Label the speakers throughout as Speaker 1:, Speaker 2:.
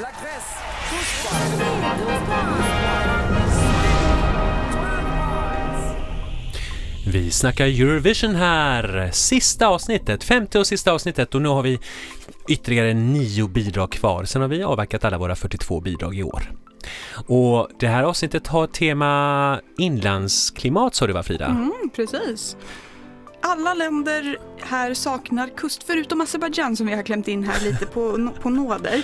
Speaker 1: La Grèce,
Speaker 2: Vi snackar Eurovision här! Sista avsnittet, femte och sista avsnittet och nu har vi ytterligare nio bidrag kvar. Sen har vi avverkat alla våra 42 bidrag i år. Och det här avsnittet har tema inlandsklimat sa du va Frida?
Speaker 3: Mm, precis. Alla länder här saknar kust, förutom Azerbajdzjan som vi har klämt in här lite på, på nåder.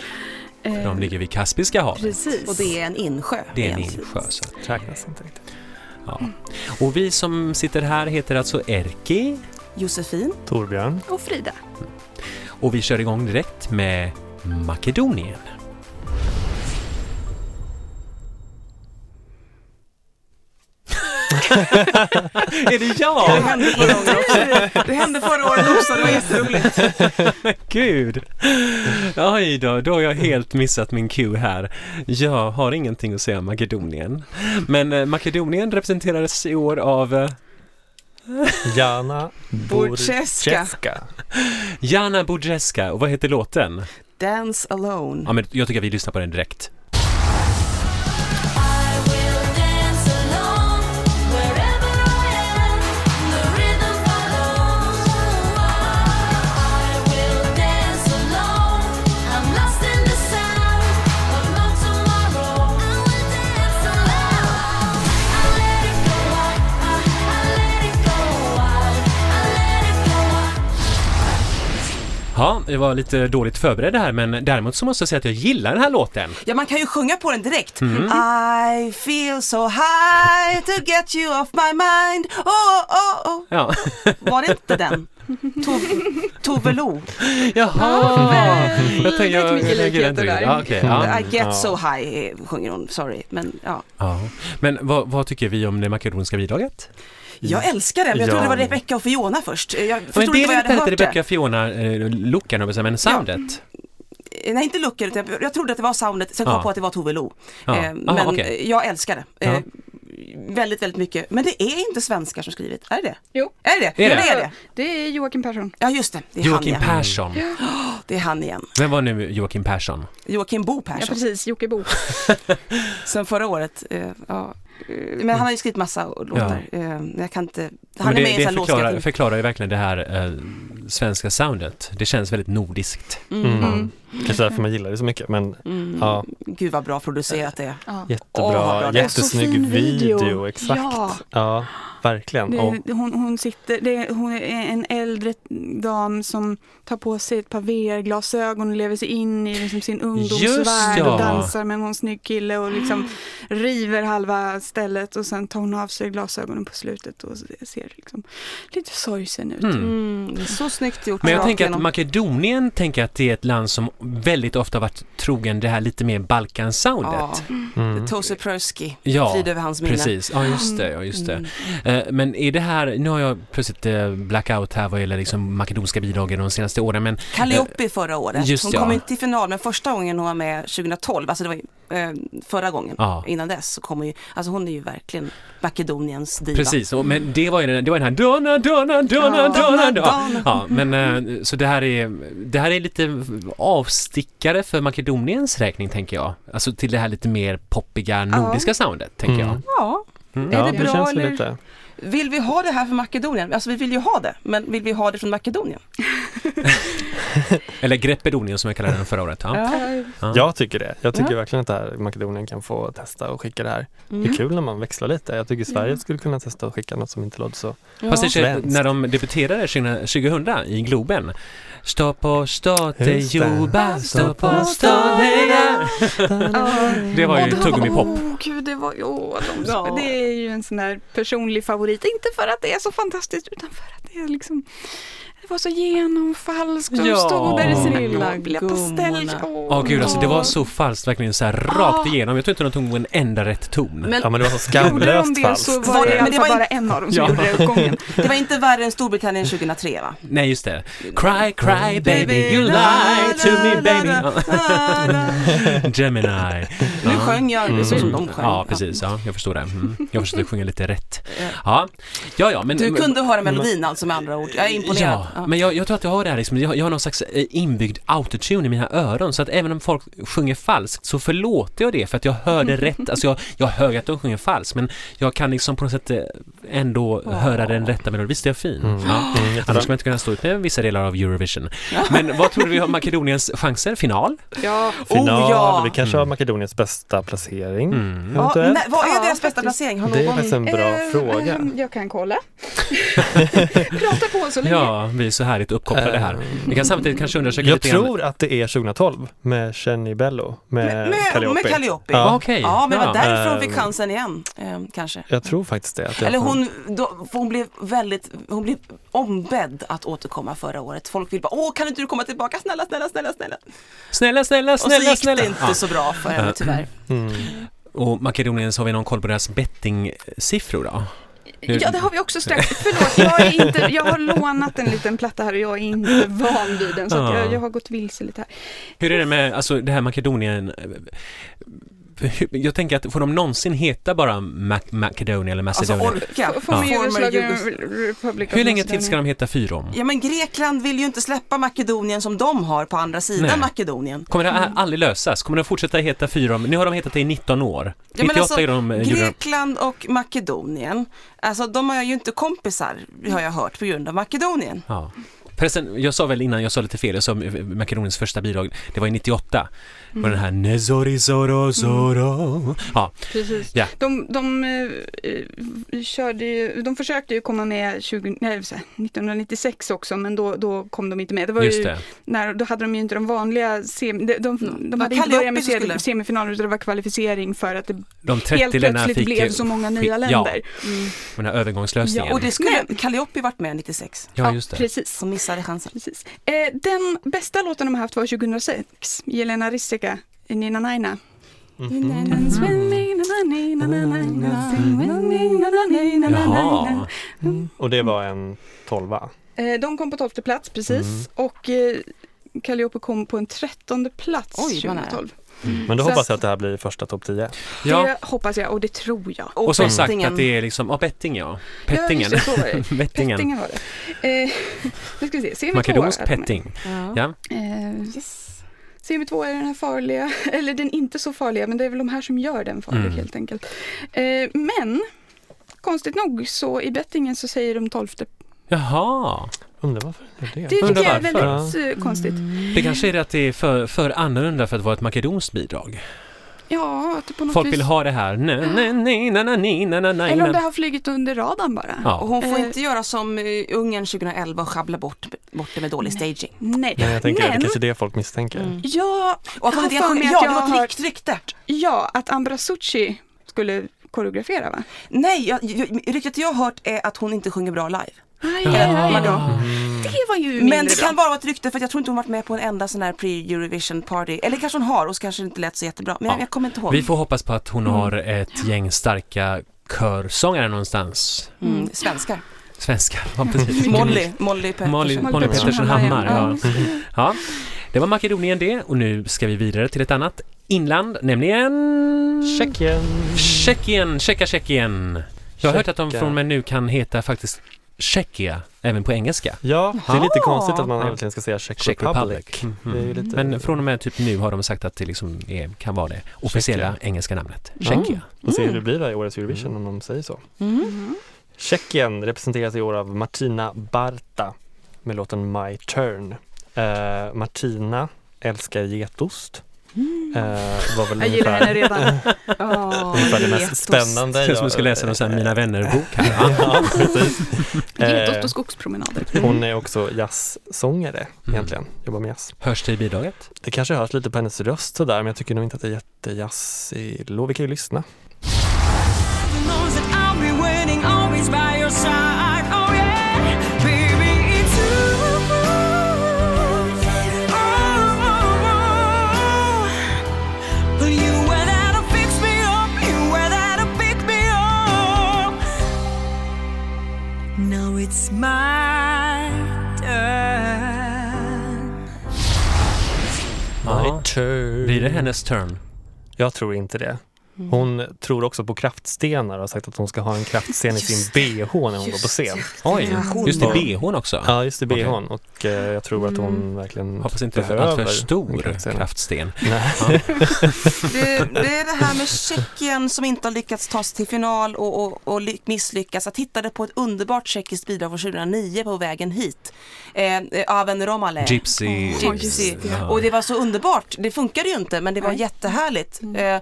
Speaker 3: Eh,
Speaker 2: De ligger vid Kaspiska havet.
Speaker 3: Precis.
Speaker 4: Och det är en insjö.
Speaker 2: Det är en
Speaker 4: egentligen.
Speaker 2: insjö. Så. att-
Speaker 1: räknas inte riktigt.
Speaker 2: Ja. Och vi som sitter här heter alltså Erki
Speaker 4: Josefin.
Speaker 1: Torbjörn.
Speaker 3: Och Frida.
Speaker 2: och vi kör igång direkt med Makedonien. är det jag?
Speaker 4: hände förra året också. Det hände förra året också, det var jätteroligt.
Speaker 2: Gud! Oj då, då har jag helt missat min cue här. Jag har ingenting att säga om Makedonien. Men eh, Makedonien representerades i år av eh,
Speaker 1: Jana
Speaker 4: Borzeska.
Speaker 1: Borzeska.
Speaker 2: Jana Budreska. Och vad heter låten?
Speaker 4: Dance alone.
Speaker 2: Ja, men jag tycker att vi lyssnar på den direkt.
Speaker 5: I will dance alone wherever I am. The rhythm follows. I will dance alone. I'm lost in the sound of my tomorrow. I will dance alone. I let it go wild. I let it go wild. I let it go wild.
Speaker 2: Ja, jag var lite dåligt förberedd här men däremot så måste jag säga att jag gillar den här låten.
Speaker 4: Ja, man kan ju sjunga på den direkt.
Speaker 2: Mm.
Speaker 4: Mm. I feel so high to get you off my mind. Oh, oh, oh.
Speaker 2: Ja.
Speaker 4: Var det inte den? Tove, Tove Lo.
Speaker 2: Jaha! Jag tänkte jag
Speaker 3: mycket
Speaker 2: lägger den
Speaker 3: likheter
Speaker 2: till.
Speaker 3: där.
Speaker 2: Ja, okej, ja.
Speaker 4: I get so high eh, sjunger hon, sorry. Men ja,
Speaker 2: Ja. Men vad, vad tycker vi om det makedoniska bidraget?
Speaker 4: jag älskar den. men Jag
Speaker 1: Ja.
Speaker 4: trodde det var Rebecca och Fiona först. Jag förstod
Speaker 2: Mm. Men det
Speaker 4: inte vad jag
Speaker 2: är
Speaker 4: hade
Speaker 2: inte
Speaker 4: hört
Speaker 2: Rebecca
Speaker 4: det.
Speaker 2: Fiona-looken, eh, men soundet.
Speaker 4: Eh, Nej, inte looken, utan jag- jag trodde att det var soundet. Sen kom
Speaker 2: Ja.
Speaker 4: jag på att det var Tove Lo.
Speaker 2: Ja.
Speaker 4: Eh,
Speaker 2: Ah,
Speaker 4: Men
Speaker 2: okej.
Speaker 4: eh, jag älskar det. Eh,
Speaker 2: Ja.
Speaker 4: Väldigt, väldigt mycket. Men det är inte svenskar som skrivit, är det det?
Speaker 3: Jo.
Speaker 4: Är det det?
Speaker 2: Är
Speaker 4: ja,
Speaker 2: det?
Speaker 4: det är det.
Speaker 3: Det är Joakim Persson.
Speaker 4: Ja, just det. Det är
Speaker 2: Joakim
Speaker 4: han igen.
Speaker 2: Persson.
Speaker 4: Det är han igen.
Speaker 2: Vem var nu Joakim Persson?
Speaker 4: Joakim Bo
Speaker 3: Ja,
Speaker 4: Persson.
Speaker 3: precis. Jocke Bo.
Speaker 4: Sen förra året. Eh, ja. Eh, Men han har ju skrivit massa låtar. Eh, men jag kan inte...
Speaker 2: Men
Speaker 4: Han är
Speaker 2: det
Speaker 4: med
Speaker 2: det
Speaker 4: i en sån här
Speaker 2: förklarar,
Speaker 4: låt.
Speaker 2: förklarar ju verkligen det här eh, svenska soundet. Det känns väldigt nordiskt.
Speaker 1: Mm.
Speaker 4: Mm.
Speaker 1: Kanske därför man gillar det så mycket, men
Speaker 4: Mm.
Speaker 1: Ja.
Speaker 4: Gud vad bra producerat det är.
Speaker 3: Ja.
Speaker 4: Åh, vad
Speaker 1: jättebra,
Speaker 4: bra det är.
Speaker 3: Och så
Speaker 1: jättesnygg
Speaker 3: fin video.
Speaker 1: video. exakt.
Speaker 3: Ja.
Speaker 1: Ja, verkligen.
Speaker 3: Det,
Speaker 1: Och,
Speaker 3: hon, hon, sitter, det, hon är en äldre dam som tar på sig ett par VR-glasögon och lever sig in i liksom sin ungdomsvärld
Speaker 2: ja.
Speaker 3: och dansar med någon snygg kille och liksom river halva stället och sen tar hon av sig glasögonen på slutet och ser liksom lite sorgsen ut.
Speaker 2: Mm.
Speaker 4: Mm. Det är så snyggt gjort.
Speaker 2: Men jag
Speaker 4: rakt
Speaker 2: tänker att
Speaker 4: igenom.
Speaker 2: Makedonien tänker att det är ett land som väldigt ofta varit trogen det här lite mer
Speaker 4: Ja,
Speaker 2: Balkan-soundet.
Speaker 1: mm.
Speaker 4: Tose Persky.
Speaker 2: Ja,
Speaker 4: Frid över hans minne.
Speaker 2: precis. Ja, just det. Ja, just det.
Speaker 4: Mm.
Speaker 2: Eh, Men är det här, nu har jag plötsligt eh, blackout här vad gäller liksom makedonska bidragen de senaste åren, men
Speaker 4: Calliope förra året.
Speaker 2: Eh, just
Speaker 4: hon
Speaker 2: ja.
Speaker 4: kom inte till final, men första gången hon var med 2012, alltså det var ju, eh, förra gången,
Speaker 2: Ja.
Speaker 4: innan dess, så kom hon ju, alltså hon är ju verkligen Makedoniens diva.
Speaker 2: Precis, och, men det var ju den, det var den här Donna, Donna, Donna,
Speaker 3: Ja.
Speaker 2: Donna, Donna.
Speaker 4: Donna.
Speaker 2: Ja, men eh, så det här är, det här är lite avstickare för Makedoniens räkning tänker jag. Alltså till det här lite mer poppiga nordiska soundet tänker jag.
Speaker 1: Mm.
Speaker 4: Ja,
Speaker 1: ja,
Speaker 4: det bra,
Speaker 1: känns väl
Speaker 4: eller?
Speaker 1: lite.
Speaker 4: vill vi ha det här för Makedonien? Alltså vi vill ju ha det, men vill vi ha det från Makedonien?
Speaker 2: Eller Greppedonien som jag kallade den förra året. Ja. Mm.
Speaker 1: Jag tycker det. Jag tycker verkligen att det här Makedonien kan få testa och skicka det här.
Speaker 4: Mm.
Speaker 1: Det är kul när man växlar lite. Jag tycker Sverige skulle kunna testa och skicka något som inte låter så.
Speaker 2: Fast det, känns-
Speaker 1: Svenskt.
Speaker 2: när de debuterade 2000 i Globen Stå på stå te
Speaker 1: Just det.
Speaker 2: jobba, stå på stå te där. Det var ju
Speaker 3: Och då-
Speaker 2: tuggummi pop.
Speaker 3: Åh gud, det var ju, åh, de,
Speaker 4: Ja.
Speaker 3: det är ju en sån där personlig favorit. Inte för att det är så fantastiskt utan för att det är liksom det var så genomfalskt och de
Speaker 2: Ja.
Speaker 3: stod där i sina
Speaker 2: Men
Speaker 3: lilla
Speaker 4: gummorna.
Speaker 3: lilla pastell.
Speaker 2: Åh
Speaker 3: Åh
Speaker 2: gud alltså, det var så falskt verkligen så här rakt igenom. Jag tror inte de tog en enda rätt ton.
Speaker 4: Men
Speaker 1: Ja men det var så
Speaker 3: Gjorde de
Speaker 1: skamlöst
Speaker 3: det så
Speaker 1: falskt.
Speaker 3: var det i
Speaker 4: Men
Speaker 3: alla
Speaker 4: det
Speaker 3: fall
Speaker 4: var
Speaker 3: bara en av dem som
Speaker 2: Ja.
Speaker 3: gjorde det åt gången.
Speaker 4: det var inte värre än Storbritannien 2003 va?
Speaker 2: Nej just det. Cry cry
Speaker 4: Mm.
Speaker 2: baby you lie to me baby. Ja. Gemini.
Speaker 4: Nu
Speaker 2: Ja.
Speaker 4: sjöng jag så som de sjöng.
Speaker 2: Mm. Ja precis, ja, jag förstår det. Mm. Jag försökte sjunga lite rätt. Ja, ja, ja men
Speaker 4: Du kunde höra melodin alltså med andra ord. Jag är imponerad.
Speaker 2: Ja,
Speaker 4: Ja.
Speaker 2: Men jag, jag tror att jag har det här liksom, jag, jag har någon slags eh, inbyggd autotune i mina öron så att även om folk sjunger falskt så förlåter jag det för att jag hörde rätt, alltså jag, jag hör att de sjunger falskt men jag kan liksom på något sätt eh, ändå höra den rätta melodin. Visst är jag fin? Ja.
Speaker 1: Mm. Mm, jättebra.
Speaker 2: Annars skulle man inte kunna stå ut med vissa delar av Eurovision. Men vad tror du vi har Makedoniens chanser? Final?
Speaker 3: Ja,
Speaker 1: Final,
Speaker 4: Oh, ja.
Speaker 1: vi kanske har Makedoniens bästa placering.
Speaker 2: Mm.
Speaker 4: Ja,
Speaker 1: Eventuellt.
Speaker 4: nej, vad
Speaker 3: Ja,
Speaker 4: är deras bästa
Speaker 3: faktiskt.
Speaker 4: placering? Har
Speaker 1: Det är
Speaker 4: någon...
Speaker 1: faktiskt en bra
Speaker 3: Ehm,
Speaker 1: fråga.
Speaker 3: ehm, jag kan kolla. Prata på så länge.
Speaker 2: Ja, vi är så härligt uppkopplade här.
Speaker 1: Eh,
Speaker 2: Vi kan samtidigt kanske undersöka
Speaker 1: Jag
Speaker 2: lite grann-
Speaker 1: tror att det är 2012 med Jenny Bello,
Speaker 4: Med-
Speaker 1: med,
Speaker 4: med-
Speaker 1: Calliope.
Speaker 4: med Calliope.
Speaker 2: Ja,
Speaker 1: Ja,
Speaker 2: Okej.
Speaker 4: Ja, men det var
Speaker 2: Ja. eh,
Speaker 4: därifrån hon fick
Speaker 1: Ehm.
Speaker 4: chansen igen, ehm, kanske.
Speaker 1: jag tror faktiskt det. Att det
Speaker 4: Eller hon, då, för hon blev väldigt, hon blev ombedd att återkomma förra året. Folk vill bara, åh kan inte du komma tillbaka, snälla, snälla, snälla, snälla.
Speaker 2: Snälla, snälla,
Speaker 4: Och så
Speaker 2: snälla,
Speaker 4: gick
Speaker 2: snälla.
Speaker 4: det inte
Speaker 2: Ja.
Speaker 4: så bra för henne tyvärr.
Speaker 1: Mm.
Speaker 2: Och Makedonien, så har vi någon koll på deras bettingsiffror då?
Speaker 3: Ja, det har vi också strax. Förlåt, jag, är inte, jag har lånat en liten platta här och jag är inte van vid den. Så att jag, jag har gått vilse lite här.
Speaker 2: Hur är det med, alltså det här Makedonien eh, hur- jag tänker att får de någonsin heta bara Mac Macedonia eller
Speaker 4: Alltså
Speaker 2: Macedonia?
Speaker 4: orka.
Speaker 3: Former
Speaker 4: Former
Speaker 3: Yugoslavian
Speaker 4: Jugos-
Speaker 3: Republic of
Speaker 2: Hur länge
Speaker 3: Macedonia.
Speaker 2: till ska de heta Fyrom?
Speaker 4: Ja men Grekland vill ju inte släppa Makedonien som de har på andra sidan
Speaker 2: Nej.
Speaker 4: Makedonien.
Speaker 2: Kommer det här aldrig lösas? Kommer de fortsätta heta Fyrom? Nu har de hetat det i 19 år.
Speaker 4: men
Speaker 2: 98
Speaker 4: alltså,
Speaker 2: är de eh, gjorde de-
Speaker 4: Grekland och Makedonien, alltså de har ju inte kompisar har jag hört på grund av Makedonien.
Speaker 2: Ja. Förresten, jag sa väl innan, jag sa lite fel, jag sa eh, Makedoniens första bidrag, det var i 98. Mm. Och den här Nezori Zoro Zoro. Ja,
Speaker 3: Precis.
Speaker 2: Ja.
Speaker 3: De, de, eh, eh, körde ju, de försökte ju komma med 20, nej, så här, 1996 också, men då, då kom de inte med. Det var
Speaker 2: just
Speaker 3: ju
Speaker 2: det.
Speaker 3: när, då hade de ju inte de vanliga, sem, de, de, de
Speaker 4: var
Speaker 3: hade inte börjat
Speaker 4: Calliope
Speaker 3: med
Speaker 4: som Mm. skulle.
Speaker 3: se- semifinaler utan det var kvalificering för att det
Speaker 2: De 30
Speaker 3: helt
Speaker 2: länderna
Speaker 3: plötsligt
Speaker 2: fick
Speaker 3: blev
Speaker 2: eh,
Speaker 3: så många
Speaker 2: skick-
Speaker 3: nya länder.
Speaker 2: Ja, den här övergångslösningen. Ja,
Speaker 4: Och det skulle Calliope varit med 96,
Speaker 2: just det.
Speaker 3: precis.
Speaker 4: som missade chansen.
Speaker 3: precis. Eh, den bästa låten de har haft var 2006, Jelena Rissika, Nina Naina. Dance with
Speaker 2: Mm.
Speaker 3: me, na, na, na, na, na, na, sing with me, na, na, na, na, na, na.
Speaker 2: Jaha.
Speaker 1: Och det var en tolva.
Speaker 3: Eh, De kom på tolfte plats precis
Speaker 2: Mm.
Speaker 3: och eh, Calliope kom på en trettonde plats
Speaker 4: Oj, vad nära.
Speaker 3: 2012.
Speaker 1: Men då
Speaker 3: Så
Speaker 1: hoppas
Speaker 3: att-
Speaker 1: jag att det här blir första topp 10.
Speaker 2: Ja.
Speaker 3: Det hoppas jag och det tror jag.
Speaker 2: Och som sagt
Speaker 4: Pettingen.
Speaker 2: att det är liksom, ja petting ja.
Speaker 3: Ja,
Speaker 2: Pettingen.
Speaker 3: just det, så var det.
Speaker 2: Pettingen.
Speaker 3: Pettingen var det. Eh, nu ska vi se, semi
Speaker 2: Makedonsk petting.
Speaker 4: Ja.
Speaker 2: Ja.
Speaker 3: Eh,
Speaker 4: Yes.
Speaker 3: CMV2 är den här farliga, eller den inte så farliga, men det är väl de här som gör den farlig
Speaker 2: Mm.
Speaker 3: helt enkelt. Eh, men konstigt nog så i bettingen så säger de tolfte.
Speaker 2: Jaha.
Speaker 1: Undrar varför det
Speaker 3: Det
Speaker 1: är det?
Speaker 2: Undrar
Speaker 3: tycker jag är
Speaker 2: varför.
Speaker 3: väldigt eh, konstigt.
Speaker 1: Mm.
Speaker 2: Det kanske är det att det är för, för annorlunda för att vara ett makedonskt bidrag.
Speaker 3: Ja, att det på något
Speaker 2: Folk
Speaker 3: vis...
Speaker 2: vill ha det här. Nä, nä, nä, nä, nä, nä, nä, nä,
Speaker 3: eller om det
Speaker 2: nä.
Speaker 3: har flugit under radarn bara.
Speaker 4: Och
Speaker 2: Ja.
Speaker 4: hon får
Speaker 3: Eh.
Speaker 4: inte göra som eh, Ungern 2011 och schabbla bort, bort det med dålig staging.
Speaker 3: Nej.
Speaker 1: Nej, jag tänker att det
Speaker 3: men Mm.
Speaker 1: kanske är det folk misstänker.
Speaker 3: jag
Speaker 4: Och att hon
Speaker 3: har
Speaker 4: inte
Speaker 3: för mig
Speaker 4: ja,
Speaker 3: att
Speaker 4: det
Speaker 3: jag
Speaker 4: var
Speaker 3: har
Speaker 4: ett rikt rykte.
Speaker 3: Ja, att Ambrasucci skulle koreografera va?
Speaker 4: Nej, jag, jag, ryktet jag har hört är att hon inte sjunger bra live.
Speaker 3: Nej,
Speaker 4: aj, aj då.
Speaker 1: Mm.
Speaker 3: Det var ju mindre
Speaker 4: Men det kan
Speaker 3: bra.
Speaker 4: bara vara ett rykte för att jag tror inte hon varit med på en enda sån här pre-Eurovision party. Eller kanske hon har och så kanske det inte lät så jättebra. Men jag,
Speaker 2: Ja.
Speaker 4: jag kommer inte ihåg.
Speaker 2: Vi får hoppas på att hon
Speaker 3: Mm.
Speaker 2: har ett gäng starka körsångare någonstans.
Speaker 4: mm, svenskar.
Speaker 2: Svenskar, ja precis.
Speaker 4: Molly, Molly Pettersson.
Speaker 2: Molly,
Speaker 3: Molly
Speaker 2: Molly
Speaker 1: Pettersson
Speaker 2: Pettersson Hammar.
Speaker 3: Hammar,
Speaker 2: Ja. ja, det var Makedonien det och nu ska vi vidare till ett annat inland, nämligen
Speaker 1: Tjeckien!
Speaker 2: Tjeckien, Tjecka Tjeckien. Jag har hört att de
Speaker 1: Tjecka.
Speaker 2: från och med nu kan heta faktiskt Tjeckia, även på engelska.
Speaker 1: Ja, det är lite
Speaker 4: Jaha.
Speaker 1: konstigt att man egentligen ska säga Czech,
Speaker 2: Czech
Speaker 1: Republic.
Speaker 2: Republic. Mhm.
Speaker 1: Det är ju lite...
Speaker 2: Men från och med typ nu har de sagt att det liksom är, kan vara det officiella
Speaker 1: Tjeckien.
Speaker 2: engelska namnet. Tjeckia.
Speaker 1: Får Mm. se hur det blir då i årets Eurovision om de säger så.
Speaker 3: Mm.
Speaker 1: Tjeckien representeras i år av Martina Barta med låten My Turn. Eh, Martina älskar getost. Eh, var väl
Speaker 3: Mm. Jag gillar henne
Speaker 1: ungefär,
Speaker 3: redan.
Speaker 1: ungefär det mest
Speaker 4: Getost.
Speaker 1: spännande.
Speaker 2: Det är som
Speaker 1: jag-
Speaker 2: jag skulle läsa någon sån här Mina vänner-bok här. Ja.
Speaker 1: ja, precis.
Speaker 3: Getost
Speaker 1: Eh,
Speaker 3: och skogspromenader.
Speaker 1: hon är också jazzsångare
Speaker 2: Mm.
Speaker 1: egentligen, jobbar med jazz.
Speaker 2: Hörs det i bidraget?
Speaker 1: Det kanske hörs lite på hennes röst sådär, men jag tycker nog inte att det är jättejazzig låt. Vi kan ju lyssna.
Speaker 5: Now it's my turn.
Speaker 2: Ja.
Speaker 1: turn.
Speaker 2: Blir det hennes turn?
Speaker 1: Jag tror inte det.
Speaker 4: Mm.
Speaker 1: Hon tror också på kraftstenar och har sagt att hon ska ha en kraftsten i sin bh när hon går på scen.
Speaker 2: Oj,
Speaker 4: Hon
Speaker 2: just det,
Speaker 1: var-
Speaker 2: bhn också.
Speaker 1: Ja, just det,
Speaker 2: Okej.
Speaker 1: bhn. Och eh, jag tror att
Speaker 4: Mm.
Speaker 1: hon verkligen
Speaker 2: Hoppas inte för,
Speaker 1: behöver
Speaker 2: allt för stor
Speaker 1: en kraftsten.
Speaker 2: kraftsten.
Speaker 1: Nej.
Speaker 4: Det, det är det här med Tjeckien som inte har lyckats ta sig till final och, och, och ly- misslyckas. Jag tittade på ett underbart tjeckiskt bidrag från 2009 på vägen hit. Eh, eh, Aven Romale.
Speaker 2: Gypsy.
Speaker 3: Oj,
Speaker 4: Gypsy.
Speaker 2: Ja.
Speaker 4: Och det var så underbart. Det funkade ju inte men det var
Speaker 3: Nej.
Speaker 4: jättehärligt.
Speaker 2: Mm.
Speaker 4: Eh,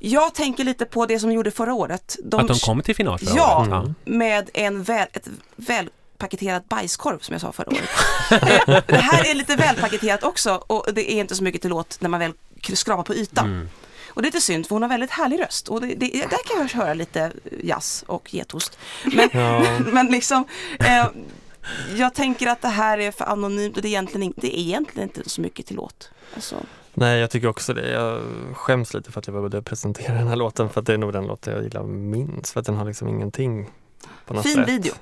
Speaker 4: jag tänker lite på det som de gjorde förra året.
Speaker 2: Att de kom till final förra
Speaker 4: Ja.
Speaker 2: året.
Speaker 1: Mm.
Speaker 4: med en väl, ett välpaketerat bajskorv som jag sa förra året. Eh, det här är lite välpaketerat också och det är inte så mycket till låt när man väl k- skrapar på ytan.
Speaker 2: Mm.
Speaker 4: Och det är lite synd för hon har väldigt härlig röst och det, det, där kan jag höra lite jazz och getost. Men,
Speaker 1: Ja.
Speaker 4: men liksom eh, jag tänker att det här är för anonymt och det är egentligen, in- det är egentligen inte så mycket till låt. Alltså,
Speaker 1: Nej, jag tycker också det. Jag skäms lite för att jag behövde presentera den här låten för att det är nog den låt jag gillar minst för att den har liksom ingenting på något
Speaker 4: fin
Speaker 1: sätt.
Speaker 4: video,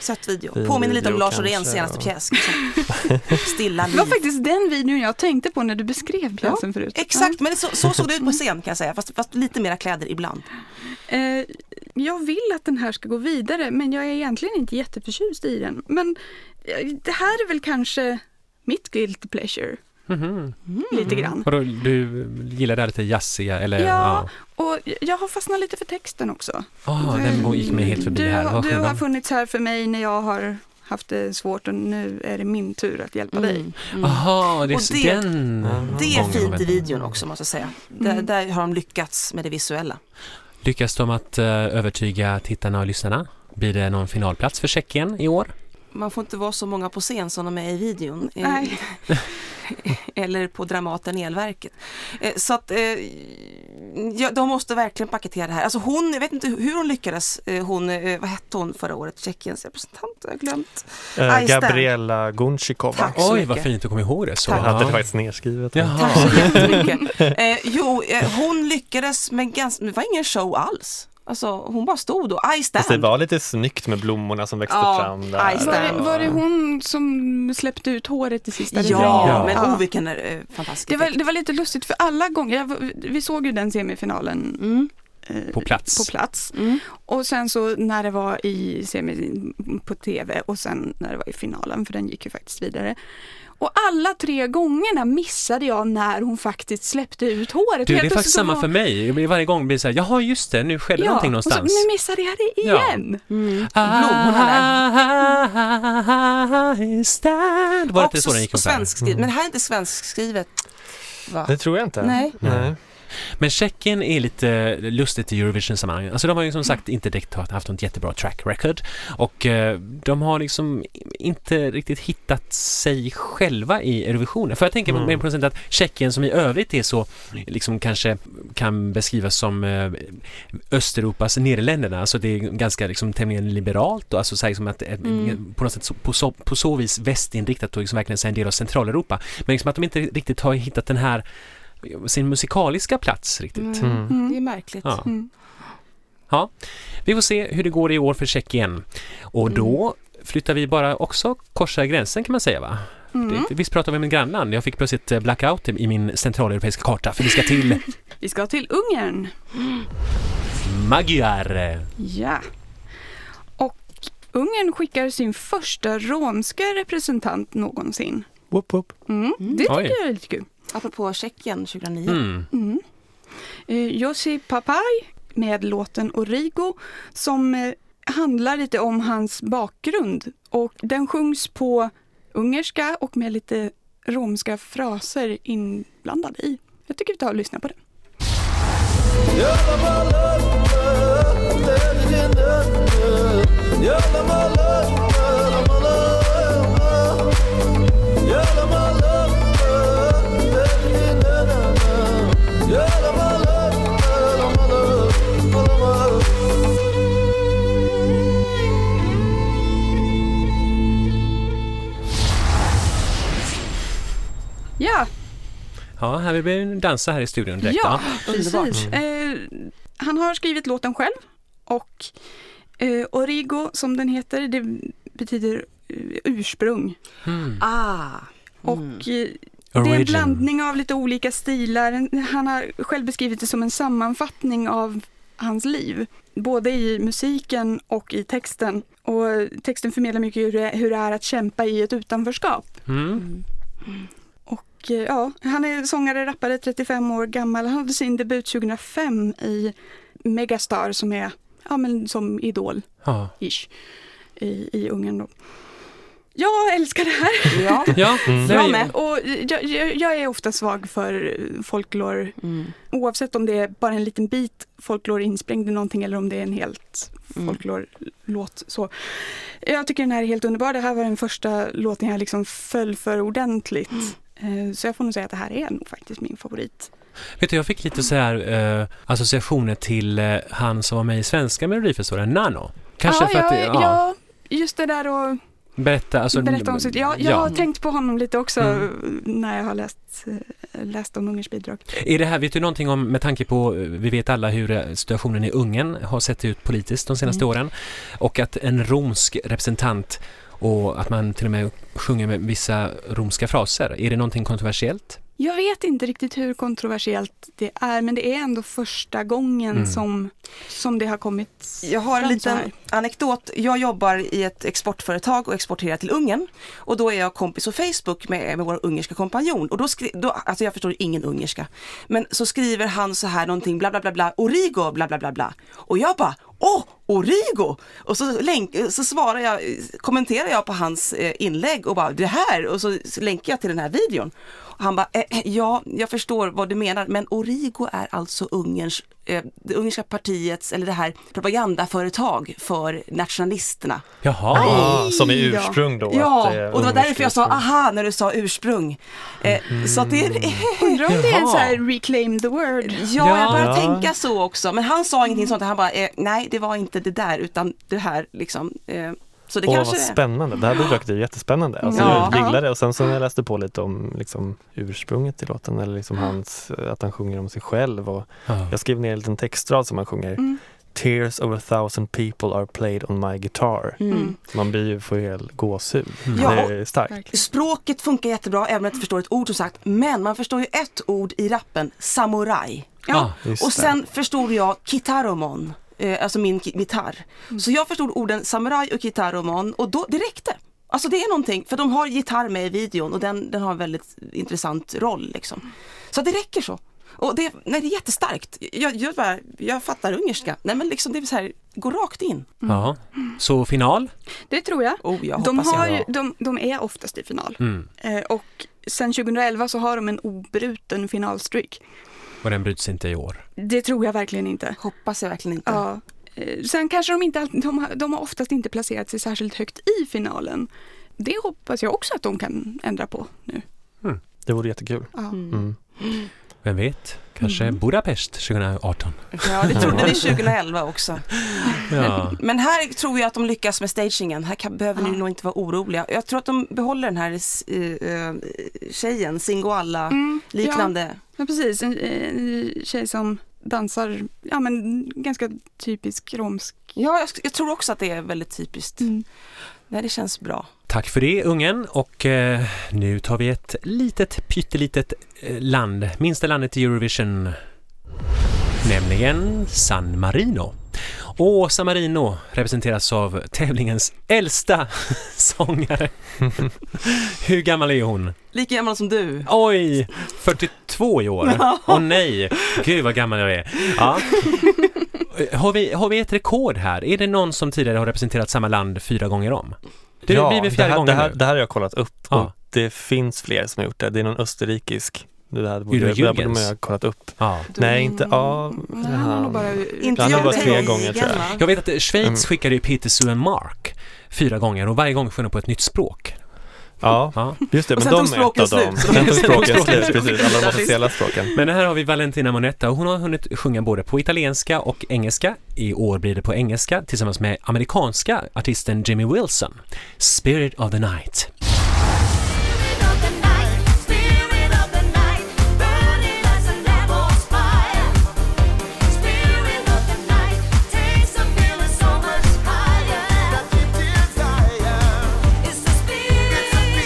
Speaker 4: söt video.
Speaker 1: Fin
Speaker 4: Påminner lite om
Speaker 1: video
Speaker 4: Lars Oréns senaste
Speaker 1: kanske, ja.
Speaker 4: pjäs. Liksom. Stilla
Speaker 3: Det var
Speaker 4: liv.
Speaker 3: faktiskt den videon jag tänkte på när du beskrev pjäsen förut.
Speaker 4: Exakt, men det- så, så såg det ut på scen kan jag säga, fast, fast lite mera kläder ibland.
Speaker 3: Eh, jag vill att den här ska gå vidare men jag är egentligen inte jätteförtjust i den. Men eh, det här är väl kanske mitt guilty pleasure.
Speaker 2: Mhm.
Speaker 3: Lite grann.
Speaker 2: Vadå, du gillar det här lite jazziga eller?
Speaker 3: Ja, och jag har fastnat lite för texten också. Eh,
Speaker 2: Ah, den gick mig helt förbi
Speaker 3: du,
Speaker 2: här.
Speaker 3: har-
Speaker 2: Vad
Speaker 3: Du har
Speaker 2: skivan.
Speaker 3: funnits här för mig när jag har haft det svårt och nu är det min tur att hjälpa
Speaker 2: Mm.
Speaker 3: dig.
Speaker 2: Jaha, det
Speaker 4: Och
Speaker 2: är
Speaker 4: det-
Speaker 2: den.
Speaker 4: Det är
Speaker 2: gången de
Speaker 4: fint i
Speaker 2: vänder.
Speaker 4: videon också måste jag säga. Där, där har de lyckats med det visuella.
Speaker 2: Lyckas de att eh, övertyga tittarna och lyssnarna? Blir det någon finalplats för Tjeckien i år?
Speaker 4: Man får inte vara så många på scen som de är i videon. Eh,
Speaker 3: Nej.
Speaker 4: Eller på Dramaten Elverket. Eh, Så att eh, ja, de måste verkligen paketera det här. Alltså hon, jag vet inte hur hon lyckades. Eh, Hon, eh, vad hette hon förra året? Tjeckiens representant, jag har glömt.
Speaker 1: Eh,
Speaker 4: Ice Stand.
Speaker 1: Gabriella Gunchikova.
Speaker 4: Tack. så
Speaker 2: Oj,
Speaker 4: mycket.
Speaker 2: vad fint du kom ihåg det så.
Speaker 1: Jag hade det
Speaker 2: Ja.
Speaker 1: faktiskt nedskrivet.
Speaker 2: Jaha.
Speaker 4: Tack så jättemycket. Eh, jo, eh, hon lyckades men ganska, det var ingen show alls. Alltså hon bara stod och I
Speaker 1: Fast det
Speaker 4: stand.
Speaker 1: var lite snyggt med blommorna som växte
Speaker 4: Ja,
Speaker 1: fram där.
Speaker 4: Ice
Speaker 3: Var
Speaker 4: Stand.
Speaker 3: det, var det hon som släppte ut håret i sista
Speaker 4: Ja,
Speaker 2: Ja.
Speaker 4: men
Speaker 3: Ja.
Speaker 4: oh vilken eh, fantastisk
Speaker 3: Det var,
Speaker 4: effekt.
Speaker 3: det var lite lustigt för alla gånger, jag, var- vi såg ju den semifinalen
Speaker 4: Mm.
Speaker 3: eh,
Speaker 2: På plats.
Speaker 3: på plats.
Speaker 4: Mm.
Speaker 3: Och sen så när det var i semi på tv och sen när det var i finalen, för den gick ju faktiskt vidare. Och alla tre gångerna missade jag när hon faktiskt släppte ut håret.
Speaker 2: Du, det är
Speaker 3: Helt
Speaker 2: faktiskt
Speaker 3: plötsligt så
Speaker 2: samma
Speaker 3: var-
Speaker 2: för mig. Jag blir- Varje gång blir det så här, jaha just det, nu skedde någonting
Speaker 3: och så,
Speaker 2: någonstans. Ah,
Speaker 3: Nu missade jag det
Speaker 2: Ja.
Speaker 3: igen.
Speaker 4: Mm. Blommorna
Speaker 2: ah, I stand. Var ah, det inte så den gick
Speaker 4: på
Speaker 2: ungefär?
Speaker 4: svenskskrivet, men det här är inte svenskskrivet. Va?
Speaker 1: Det tror jag inte.
Speaker 4: Nej.
Speaker 1: Nej.
Speaker 2: Men Tjeckien är lite lustigt i Eurovision-sammanhang. Alltså de har ju som sagt inte direkt haft något jättebra track record och eh, de har liksom inte riktigt hittat sig själva i Eurovisionen. För jag tänker
Speaker 1: Mm.
Speaker 2: mer på något sätt att Tjeckien som i övrigt är så, liksom kanske kan beskrivas som eh, Östeuropas Nederländerna, alltså det är ganska liksom tämligen liberalt och alltså så här, liksom att eh, på något sätt så, på, så, på så vis västinriktat och liksom verkligen så här en del av Centraleuropa. Men liksom att de inte riktigt har hittat den här sin musikaliska plats riktigt.
Speaker 1: Mm.
Speaker 4: Det är märkligt.
Speaker 2: Ja.
Speaker 3: Mm.
Speaker 2: ja, vi får se hur det går i år för Tjeckien. Och då
Speaker 3: Mm.
Speaker 2: flyttar vi bara också korsar gränsen kan man säga va?
Speaker 3: Mm.
Speaker 2: Det, visst pratar vi om en grannland? Jag fick plötsligt eh, blackout i i min centraleuropeiska karta för vi ska till
Speaker 3: Vi ska till Ungern.
Speaker 2: Magyar.
Speaker 3: Ja. Och Ungern skickar sin första romska representant någonsin.
Speaker 1: Whoop, whoop.
Speaker 3: Mm. Det tycker
Speaker 2: Oj.
Speaker 3: jag är lite kul.
Speaker 4: Apropå Tjeckien 2009.
Speaker 2: Mm.
Speaker 3: Eh, Jussi Papaj med låten Origo som eh, handlar lite om hans bakgrund. Och den sjungs på ungerska och med lite romska fraser inblandade i. Jag tycker vi tar och lyssnar på den. Ja,
Speaker 2: Ja, här vill vi dansa här i studion direkt.
Speaker 3: ja,
Speaker 2: Ja.
Speaker 3: precis. Eh, han har skrivit låten själv och eh, Origo som den heter, det betyder eh, ursprung.
Speaker 2: Mm.
Speaker 4: Ah,
Speaker 3: Och eh, Det är en
Speaker 2: Origin.
Speaker 3: blandning av lite olika stilar. En- Han har själv beskrivit det som en sammanfattning av hans liv, både i musiken och i texten. Och texten förmedlar mycket hur det, hur det är att kämpa i ett utanförskap.
Speaker 2: Mm.
Speaker 3: Och, eh, ja, han är sångare, rappare, 35 år gammal. Han hade sin debut 2005 i Megastar som är ja, men som Idol
Speaker 2: Ja.
Speaker 3: ish, i, i Ungern. Då. Jag älskar det här!
Speaker 4: Ja.
Speaker 2: Ja,
Speaker 1: Mm.
Speaker 2: det-
Speaker 4: Jag med.
Speaker 3: Och jag, jag, jag är ofta svag för eh, folklore,
Speaker 4: Mm.
Speaker 3: oavsett om det är bara en liten bit folklore insprängd i någonting eller om det är en helt
Speaker 4: Mm.
Speaker 3: folklore-låt. Så. Jag tycker den här är helt underbar. Det här var den första låten jag liksom föll för ordentligt.
Speaker 4: Mm.
Speaker 3: Eh, Så jag får nog säga att det här är nog faktiskt min favorit.
Speaker 2: Vet du, jag fick lite så här eh, associationer till eh, han som var med i svenska melodifestivalen, Nano. Kanske
Speaker 3: ja,
Speaker 2: för att det,
Speaker 3: jag, ja. just det där och
Speaker 2: berätta, alltså,
Speaker 3: berätta om sitt... Ja, jag
Speaker 2: ja.
Speaker 3: har tänkt på honom lite också
Speaker 2: Mm.
Speaker 3: när jag har läst, eh, läst om Ungerns bidrag.
Speaker 2: Är det här, vet du någonting om, med tanke på, eh, vi vet alla hur eh, situationen i Ungern har sett ut politiskt de senaste
Speaker 3: Mm.
Speaker 2: åren och att en romsk representant och att man till och med sjunger med vissa romska fraser. Är det någonting kontroversiellt?
Speaker 3: Jag vet inte riktigt hur kontroversiellt det är, men det är ändå första gången
Speaker 2: Mm.
Speaker 3: som, som det har kommit
Speaker 4: Jag har en
Speaker 3: fram så här.
Speaker 4: liten anekdot. Jag jobbar i ett exportföretag och exporterar till Ungern och då är jag kompis på Facebook med, med vår ungerska kompanjon och då, skri- då, alltså jag förstår ingen ungerska, men så skriver han så här någonting bla bla bla bla, origo bla bla bla bla och jag bara Åh, Origo! Och så, länk, så svarar jag, kommenterar jag på hans eh, inlägg och bara det här och så länkar jag till den här videon. Och han bara, eh, eh, ja, jag förstår vad du menar, men Origo är alltså Ungerns, eh, det ungerska partiets, eller det här propagandaföretag för nationalisterna.
Speaker 2: Jaha.
Speaker 1: Ah, som är
Speaker 3: Aj då.
Speaker 1: ursprung då.
Speaker 4: ja,
Speaker 1: att eh, är
Speaker 4: och det var därför jag sa "Ah,
Speaker 1: ungerskt ursprung.
Speaker 4: aha när du sa ursprung. Eh,
Speaker 1: Mm.
Speaker 4: Så att det är,
Speaker 3: Undrar om det är en
Speaker 2: Jaha.
Speaker 3: så här reclaim the word.
Speaker 4: ja, jag börjar
Speaker 1: Ja.
Speaker 4: tänka så också. Men han sa ingenting sånt, han bara, eh, nej det var inte det där utan det här liksom. Eh, så det
Speaker 1: Åh,
Speaker 4: kanske
Speaker 1: vad
Speaker 4: det är.
Speaker 1: spännande. Det här bidraget är ju jättespännande. Alltså,
Speaker 4: Ja.
Speaker 1: Jag gillade det och sen så när jag läste på lite om liksom, ursprunget till låten eller liksom
Speaker 4: Mm.
Speaker 1: hans, att han sjunger om sig själv och
Speaker 2: Ja.
Speaker 1: Jag skrev ner en liten textrad som han sjunger.
Speaker 3: Mm.
Speaker 1: Tears of a thousand people are played on my guitar.
Speaker 4: Mm.
Speaker 1: Man blir ju får hel gåshud.
Speaker 4: Ja,
Speaker 1: Det är starkt.
Speaker 3: verkligen.
Speaker 4: Språket funkar jättebra även om jag inte förstår ett ord som sagt. Men man förstår ju ett ord i rappen, samuraj.
Speaker 2: Ah,
Speaker 1: Just
Speaker 4: Och
Speaker 1: det.
Speaker 4: sen förstod jag kitaromon, eh, alltså min ki- gitarr.
Speaker 1: Mm.
Speaker 4: Så jag förstod orden samuraj och kitaromon och då, det räckte. Alltså det är någonting, för de har gitarr med i videon och den, den har en väldigt intressant roll liksom. Så det räcker så. Och det, nej, det är jättestarkt. Jag, jag, bara, jag fattar ungerska. Nej men liksom det är så här, gå rakt in.
Speaker 2: Ja.
Speaker 3: Mm.
Speaker 2: Så final?
Speaker 3: Det tror jag.
Speaker 4: Oh, jag
Speaker 3: De,
Speaker 4: hoppas
Speaker 3: har
Speaker 4: jag.
Speaker 3: ju, de, de är oftast i final.
Speaker 2: Mm.
Speaker 3: Eh, och sen 2011 så har de en obruten finalstreak.
Speaker 2: Och den bryts inte i år.
Speaker 3: Det tror jag verkligen inte.
Speaker 4: Hoppas jag verkligen inte.
Speaker 3: Ja. Eh, Sen kanske de inte alltid, de har, de har oftast inte placerat sig särskilt högt i finalen. Det hoppas jag också att de kan ändra på nu.
Speaker 1: Det vore jättekul.
Speaker 3: Ja.
Speaker 1: Mm.
Speaker 2: Vem vet? Kanske
Speaker 3: Mm.
Speaker 2: Budapest 2018?
Speaker 4: Ja, det trodde vi 2011 också.
Speaker 2: Ja.
Speaker 4: Men här tror jag att de lyckas med stagingen. Här kan, behöver ni nog inte vara oroliga. Jag tror att de behåller den här eh, eh, tjejen, Singoalla-liknande.
Speaker 3: Mm, Ja, precis. En, en tjej som dansar, ja men ganska typisk romsk.
Speaker 4: Ja, jag, sk- jag tror också att det är väldigt typiskt. Nej, det känns bra.
Speaker 2: Tack för det Ungern och eh, nu tar vi ett litet pyttelitet eh, land, minsta landet i Eurovision, nämligen San Marino. Och San Marino representeras av tävlingens äldsta sångare. Hur gammal är hon?
Speaker 4: Lika gammal som du.
Speaker 2: Oj, 42 i år. Åh nej, gud vad gammal jag är. Ja. Har, vi, har vi ett rekord här? Är det någon som tidigare har representerat samma land fyra gånger om? Det
Speaker 1: ja,
Speaker 2: blir väl
Speaker 1: det
Speaker 2: fjärde
Speaker 1: här, det,
Speaker 2: gången
Speaker 1: här,
Speaker 2: nu?
Speaker 1: det här har jag kollat upp
Speaker 2: Ja.
Speaker 1: och det finns fler som har gjort det. Det är någon österrikisk. Det här
Speaker 2: Är
Speaker 1: borde,
Speaker 2: det
Speaker 1: det här borde man
Speaker 2: Jürgens?
Speaker 1: ju ha kollat upp.
Speaker 2: Ja.
Speaker 1: Nej, inte ja,
Speaker 3: Nej, han har nog bara...
Speaker 4: Inte
Speaker 1: Han har
Speaker 4: jag
Speaker 1: bara tre
Speaker 4: heller.
Speaker 1: gånger, tror jag.
Speaker 4: Igen, va?
Speaker 2: Jag vet att eh, Schweiz
Speaker 1: Mm.
Speaker 2: skickade ju Peter Sue and Mark fyra gånger och varje gång sjöng de på ett nytt språk.
Speaker 1: Ja,
Speaker 2: Ja.
Speaker 1: just det.
Speaker 4: Och
Speaker 1: Men
Speaker 4: sen
Speaker 1: de
Speaker 4: tog
Speaker 1: är
Speaker 4: språken
Speaker 1: ett av dem.
Speaker 4: slut.
Speaker 1: Sen tog språken
Speaker 4: Språken
Speaker 1: slut, precis. Alla de officiella språken. Mm.
Speaker 2: Men här har vi Valentina Monetta och hon har hunnit sjunga både på italienska och engelska. I år blir det på engelska tillsammans med amerikanska artisten Jimmy Wilson. Spirit of the Night.
Speaker 5: Spirit of the night, spirit of the night, burning as a devil's fire. Spirit of the night, takes a feeling so much higher. It's the spirit of the night.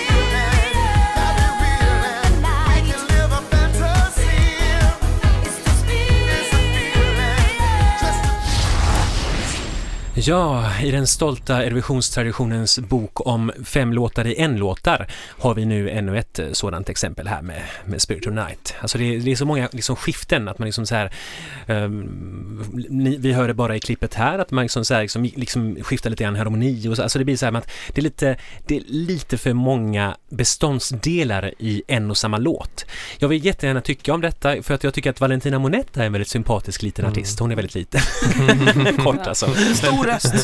Speaker 2: Ja, i den stolta Eurovisionstraditionens bok om fem låtar i en låtar har vi nu ännu ett eh, sådant exempel här med, med Spirit of Night. Alltså det, är- det är så många liksom skiften att man liksom så här, ehm, ni, vi hör det bara i klippet här, att man liksom, så här, liksom, liksom skiftar lite grann harmoni och så, alltså det blir så här med att det är, lite, det är lite för många beståndsdelar i en och samma låt. Jag vill jättegärna tycka om detta för att jag tycker att Valentina Monetta är en väldigt sympatisk liten
Speaker 1: Mm.
Speaker 2: artist, hon är väldigt liten, kort alltså.
Speaker 4: Stor röst.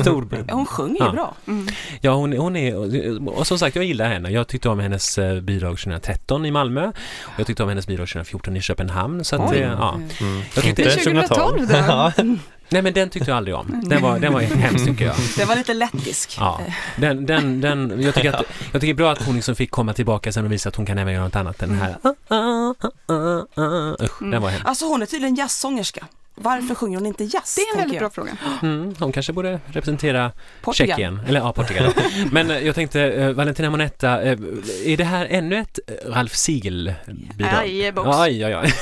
Speaker 2: Stor.
Speaker 4: Hon sjunger ju
Speaker 2: Ja.
Speaker 4: bra.
Speaker 3: Mm.
Speaker 2: Mm. Ja, hon, hon är, och som sagt jag gillar henne. Jag tyckte om hennes eh, bidrag 2013 i Malmö och jag tyckte om hennes bidrag 2014 i Köpenhamn. Så att,
Speaker 1: Oj.
Speaker 2: eh, ja.
Speaker 1: Mm.
Speaker 2: jag
Speaker 1: Inte
Speaker 2: tyckte,
Speaker 3: Men 2012 då?
Speaker 1: Ja.
Speaker 2: nej men den tyckte jag aldrig om. Den var, den var hemsk tycker jag.
Speaker 4: Den var lite lettisk.
Speaker 2: Ja, den, den, den, jag tycker att, jag tycker det är bra att hon liksom fick komma tillbaka sen och visa att hon kan även göra något annat än den här. Ah, Usch, den var hemsk.
Speaker 4: Alltså hon är tydligen jazzsångerska. Varför sjunger hon inte jazz?
Speaker 3: Det är en
Speaker 4: tänker
Speaker 3: väldigt
Speaker 4: jag?
Speaker 3: bra fråga.
Speaker 2: Mm, hon kanske borde representera
Speaker 4: Portugal.
Speaker 2: Tjeckien, eller ja, Portugal. Men eh, jag tänkte, eh, Valentina Monetta, eh, är det här ännu ett eh, Ralf Siegel-bidrag?
Speaker 3: Ajebox.
Speaker 2: Aj, aj, aj.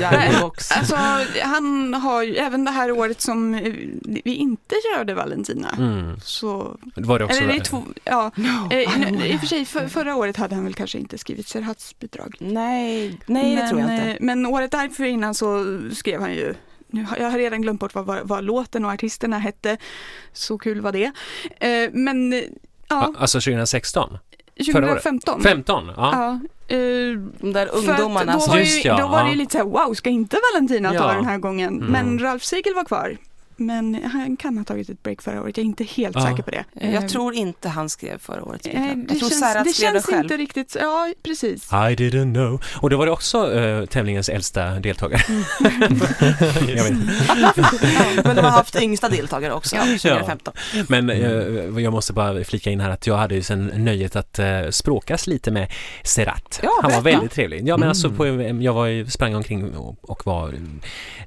Speaker 4: Jazzbox.
Speaker 3: Alltså, han har ju, även det här året som eh, vi inte körde Valentina,
Speaker 2: Mm.
Speaker 3: så...
Speaker 2: Det Var det också
Speaker 3: Eller det är
Speaker 2: där.
Speaker 3: två, ja. Eh,
Speaker 4: I don't
Speaker 3: I och för sig, för, förra året hade han väl kanske inte skrivit Serhats bidrag.
Speaker 4: Nej, nej det
Speaker 3: men,
Speaker 4: tror jag
Speaker 3: eh,
Speaker 4: inte.
Speaker 3: Men året därför innan så skrev han ju nu har, jag har redan glömt bort vad, vad, vad låten och artisterna hette. Så kul var det. Eh, men eh, ja,
Speaker 2: Ja, Alltså 2016? förra året.
Speaker 3: 2015.
Speaker 2: 15? Ja.
Speaker 3: Ja, eh,
Speaker 4: De
Speaker 3: för
Speaker 4: där
Speaker 3: att
Speaker 4: ungdomarna
Speaker 3: då
Speaker 4: som...
Speaker 3: var,
Speaker 2: Just
Speaker 3: ju,
Speaker 2: ja,
Speaker 3: då var det ju
Speaker 2: ja.
Speaker 3: lite så här, wow, ska inte Valentina ta
Speaker 2: Ja.
Speaker 3: den här gången? Men Ralf Siegel var kvar. Men han kan ha tagit ett break förra året, jag är inte helt
Speaker 2: Ja.
Speaker 3: säker på det. Eh,
Speaker 4: Jag tror inte han skrev förra årets bidrag.
Speaker 3: eh,
Speaker 4: Jag
Speaker 3: det
Speaker 4: tror
Speaker 3: känns,
Speaker 4: Serhat
Speaker 3: det
Speaker 4: skrev den
Speaker 3: känns
Speaker 4: själv.
Speaker 3: inte riktigt, ja precis.
Speaker 2: I didn't know. Och då var det också eh, tävlingens äldsta deltagare. jag vet. inte.
Speaker 4: Ja, men de har haft yngsta deltagare också, 2015.
Speaker 2: Men eh, jag måste bara flika in här att jag hade ju sen nöjet att eh, språkas lite med Serat.
Speaker 4: Ja,
Speaker 2: Han var
Speaker 4: berätta.
Speaker 2: väldigt trevlig. Ja, men alltså på, jag var, ju- sprang omkring och, och var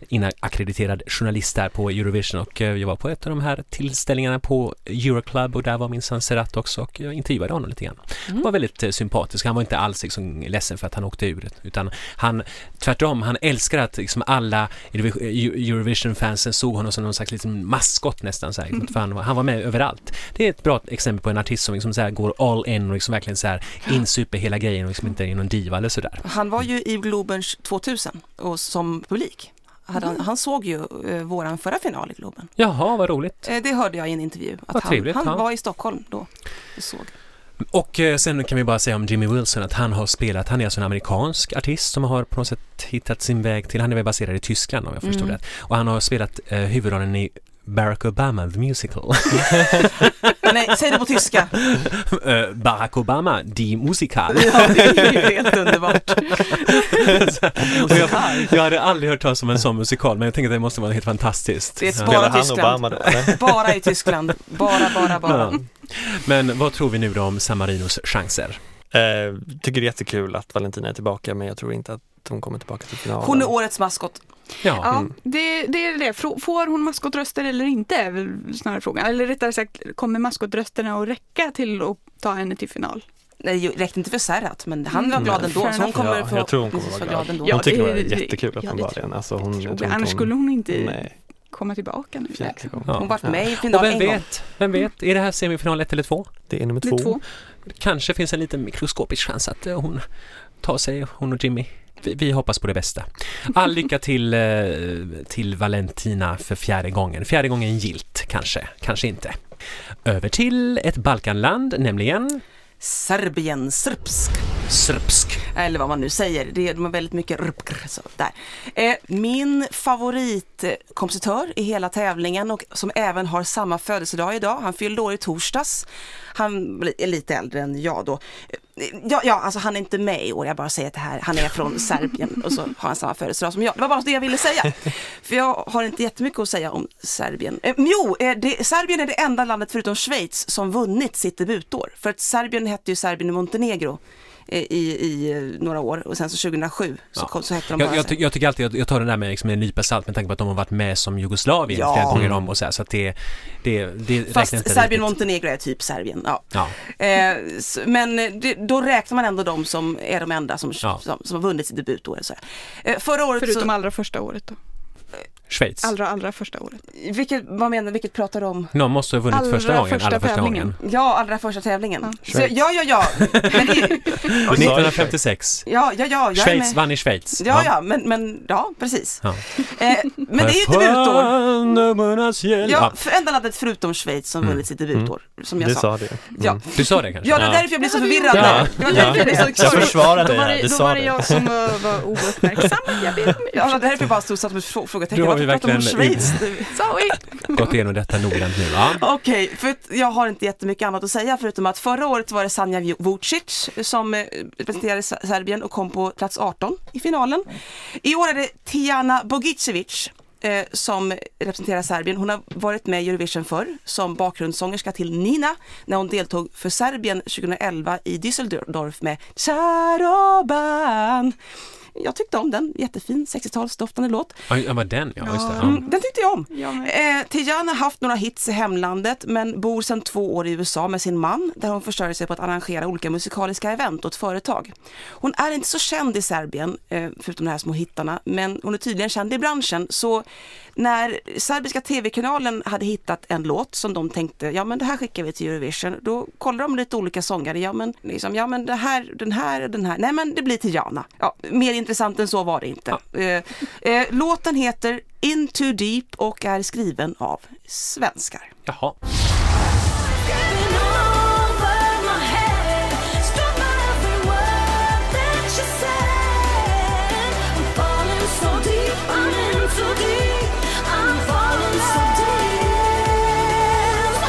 Speaker 2: inackrediterad journalist där på Eurovision och eh, jag var på ett av de här tillställningarna på Euroclub och där var min son Serat också och jag intervjuade honom lite grann. Han var väldigt eh, sympatisk. Han var inte alls liksom, ledsen för att han åkte ur utan han, tvärtom, han älskar att liksom, alla Eurovi- Eu- Eurovision-fansen såg honom som någon slags liten maskot nästan. Så här, liksom, för han, var- han var med överallt. Det är ett bra exempel på en artist som liksom, så här, går all in och liksom, verkligen så här, insuper hela grejen och liksom, inte är någon diva eller sådär.
Speaker 4: Han var ju i Globens 2000 och som publik. Hade han, han såg ju eh, våran förra final i Globen.
Speaker 2: Jaha, vad roligt.
Speaker 4: Eh, det hörde jag i en intervju.
Speaker 2: Vad
Speaker 4: Att han,
Speaker 2: trevligt,
Speaker 4: han
Speaker 2: ja.
Speaker 4: var i Stockholm då och såg.
Speaker 2: Och eh, sen kan vi bara säga om Jimmy Wilson att han har spelat, han är alltså en amerikansk artist som har på något sätt hittat sin väg till, han är väl baserad i Tyskland om jag förstår
Speaker 4: Mm.
Speaker 2: rätt. Och han har spelat eh, huvudrollen i Barack Obama, the musical.
Speaker 4: Nej, säg det på tyska.
Speaker 2: Eh, Barack Obama, die Musical.
Speaker 4: Ja, det är ju helt underbart.
Speaker 2: Och jag, jag hade aldrig hört talas om en sån musikal men jag tänkte att det måste vara helt fantastiskt.
Speaker 4: Det är ett
Speaker 2: Ja.
Speaker 4: Bara Tyskland.
Speaker 1: Spelar han Obama då? eller?
Speaker 4: Bara i Tyskland. Bara, bara, bara.
Speaker 2: Ja. Men vad tror vi nu då om San Marinos chanser?
Speaker 1: Eh, tycker det är jättekul att Valentina är tillbaka men jag tror inte att hon kommer tillbaka till finalen.
Speaker 4: Hon är årets maskot.
Speaker 2: Ja,
Speaker 3: Ja, det, det är det. Frå- Får hon maskotröster eller inte är väl snarare frågan. Eller rättare sagt, kommer maskotrösterna att räcka till att ta henne till final?
Speaker 4: Nej, det räckte inte för Serhat, men han var
Speaker 3: Mm.
Speaker 4: glad ändå.
Speaker 3: Fair
Speaker 4: Så hon
Speaker 3: enough.
Speaker 4: kommer
Speaker 1: Ja, jag tror hon kommer
Speaker 4: förhoppningsvis vara
Speaker 1: vara
Speaker 4: glad ändå.
Speaker 1: Hon
Speaker 3: Ja,
Speaker 1: tycker det,
Speaker 3: det-
Speaker 1: är jättekul
Speaker 3: ja, det
Speaker 1: uppenbarligen. Alltså, hon, jag
Speaker 3: Tror
Speaker 1: tror inte
Speaker 3: Annars
Speaker 1: hon-
Speaker 3: skulle hon inte
Speaker 1: Nej,
Speaker 3: komma tillbaka nu. Nej.
Speaker 1: fjärde gången.
Speaker 2: Ja.
Speaker 4: Hon vart med i
Speaker 2: Och
Speaker 4: final
Speaker 2: vem
Speaker 4: en gång.
Speaker 2: vet, vem vet, är det här semifinal 1 eller 2?
Speaker 1: Det är nummer
Speaker 3: Det
Speaker 1: två.
Speaker 3: är två.
Speaker 2: Kanske finns en liten mikroskopisk chans att eh, hon tar sig, hon och Jimmy. Vi, vi hoppas på det bästa. All lycka till, eh, till Valentina för fjärde gången. Fjärde gången gilt, kanske, kanske inte. Över till ett Balkanland, nämligen
Speaker 4: Serbien, Srpsk.
Speaker 2: Srpsk.
Speaker 4: eller vad man nu säger. Det är, de har väldigt mycket rpkr, så där. Eh, Min favoritkompositör i hela tävlingen och som även har samma födelsedag idag. Han fyllde år i torsdags. Han är lite äldre än jag då. Eh, Ja, ja, alltså han är inte med i år. Jag bara säger att det här, han är från Serbien och så har han samma födelsedag som jag. Det var bara det jag ville säga. För jag har inte jättemycket att säga om Serbien. Eh, men jo, eh, det, Serbien är det enda landet förutom Schweiz som vunnit sitt debutår. För att Serbien hette ju Serbien och Montenegro eh, i, i eh, några år och sen så 2007 så,
Speaker 2: Ja.
Speaker 4: kom, så hette de bara
Speaker 2: Jag, jag, ty- jag tycker alltid, jag, jag tar den där med, liksom, en nypa salt med tanke på att de har varit med som Jugoslavien
Speaker 4: Ja.
Speaker 2: flera gånger om och så, här, så att det, det, det räknar inte
Speaker 4: Fast Serbien och
Speaker 2: riktigt.
Speaker 4: Montenegro är typ Serbien. Ja.
Speaker 2: Ja.
Speaker 4: Eh, s- men eh, det, då räknar man ändå de som är de enda som,
Speaker 2: Ja.
Speaker 4: som, som har vunnit sitt debutår. Så här. Eh, förra året så,
Speaker 3: Förutom allra första året då.
Speaker 2: Schweiz.
Speaker 3: Allra, allra första året.
Speaker 4: Vilket, vad menar vilket pratar du om?
Speaker 2: Någon måste ha vunnit
Speaker 3: Allra
Speaker 2: första gången,
Speaker 3: första
Speaker 2: allra första
Speaker 3: tävlingen.
Speaker 2: gången.
Speaker 4: Ja, allra första tävlingen.
Speaker 3: Ja.
Speaker 4: Så, ja, ja, ja. Men det,
Speaker 1: Vad sa du?
Speaker 2: 1956.
Speaker 4: ja, ja, ja. Jag är
Speaker 2: Schweiz
Speaker 4: med.
Speaker 2: vann i Schweiz.
Speaker 4: Ja, ja, men, men ja, precis.
Speaker 2: Ja.
Speaker 4: Eh, men det är ju ett debutår.
Speaker 2: debutår.
Speaker 4: Ja,
Speaker 2: Ja. Mm.
Speaker 4: för enda landet förutom Schweiz som vunnit sitt debutår, som jag
Speaker 1: Du
Speaker 4: sa.
Speaker 1: sa det.
Speaker 4: Ja.
Speaker 2: Du sa det kanske?
Speaker 4: ja, det var därför jag blev så förvirrad.
Speaker 1: Ja.
Speaker 4: där. Det var därför jag blev så
Speaker 1: Ja. Jag
Speaker 4: klar.
Speaker 1: försvarar
Speaker 3: Då
Speaker 1: dig
Speaker 3: var
Speaker 1: här,
Speaker 3: det,
Speaker 1: du
Speaker 3: då var
Speaker 1: sa
Speaker 3: det
Speaker 1: det.
Speaker 3: jag som var, var ouppmärksam. Jag ber om
Speaker 4: Ja, det var
Speaker 3: ursäkt.
Speaker 4: därför jag bara stod som ett frå- frågetecken.
Speaker 2: Då har vi
Speaker 4: Varför pratar de om
Speaker 2: verkligen-
Speaker 4: Schweiz?
Speaker 3: Sorry.
Speaker 2: Gått igenom detta noggrant nu. Ja.
Speaker 4: Okej, för att jag har inte jättemycket annat att säga förutom att förra året var det Sanja Vucic som eh, representerade Ser- Serbien och kom på plats 18 i finalen. I år är det Tijana Bogicevic eh, som representerar Serbien. Hon har varit med i Eurovision förr som bakgrundssångerska till Nina när hon deltog för Serbien 2011 i Düsseldorf med Charoban. Jag tyckte om den, jättefin 60-talsdoftande låt.
Speaker 2: Ja, det var den ja, just det. Ja.
Speaker 4: Mm, den tyckte jag om.
Speaker 3: Ja, men-
Speaker 4: Eh, Tijan har haft några hits i hemlandet men bor sedan två år i USA med sin man där hon försörjer sig på att arrangera olika musikaliska event åt företag. Hon är inte så känd i Serbien, eh, förutom de här små hittarna, men hon är tydligen känd i branschen. Så när serbiska tv-kanalen hade hittat en låt som de tänkte, ja men det här skickar vi till Eurovision, då kollar de lite olika sångare, ja men, liksom, ja, men det här, den här, den här, nej men det blir Tijana. Ja, mer intressant än så var det inte. Eh, eh, låten heter In Too Deep och är skriven av svenskar.
Speaker 2: Jaha.
Speaker 5: Tripping over my head, struck by every word that you said. I'm falling so deep, I'm in too deep. I'm falling so deep. Oh,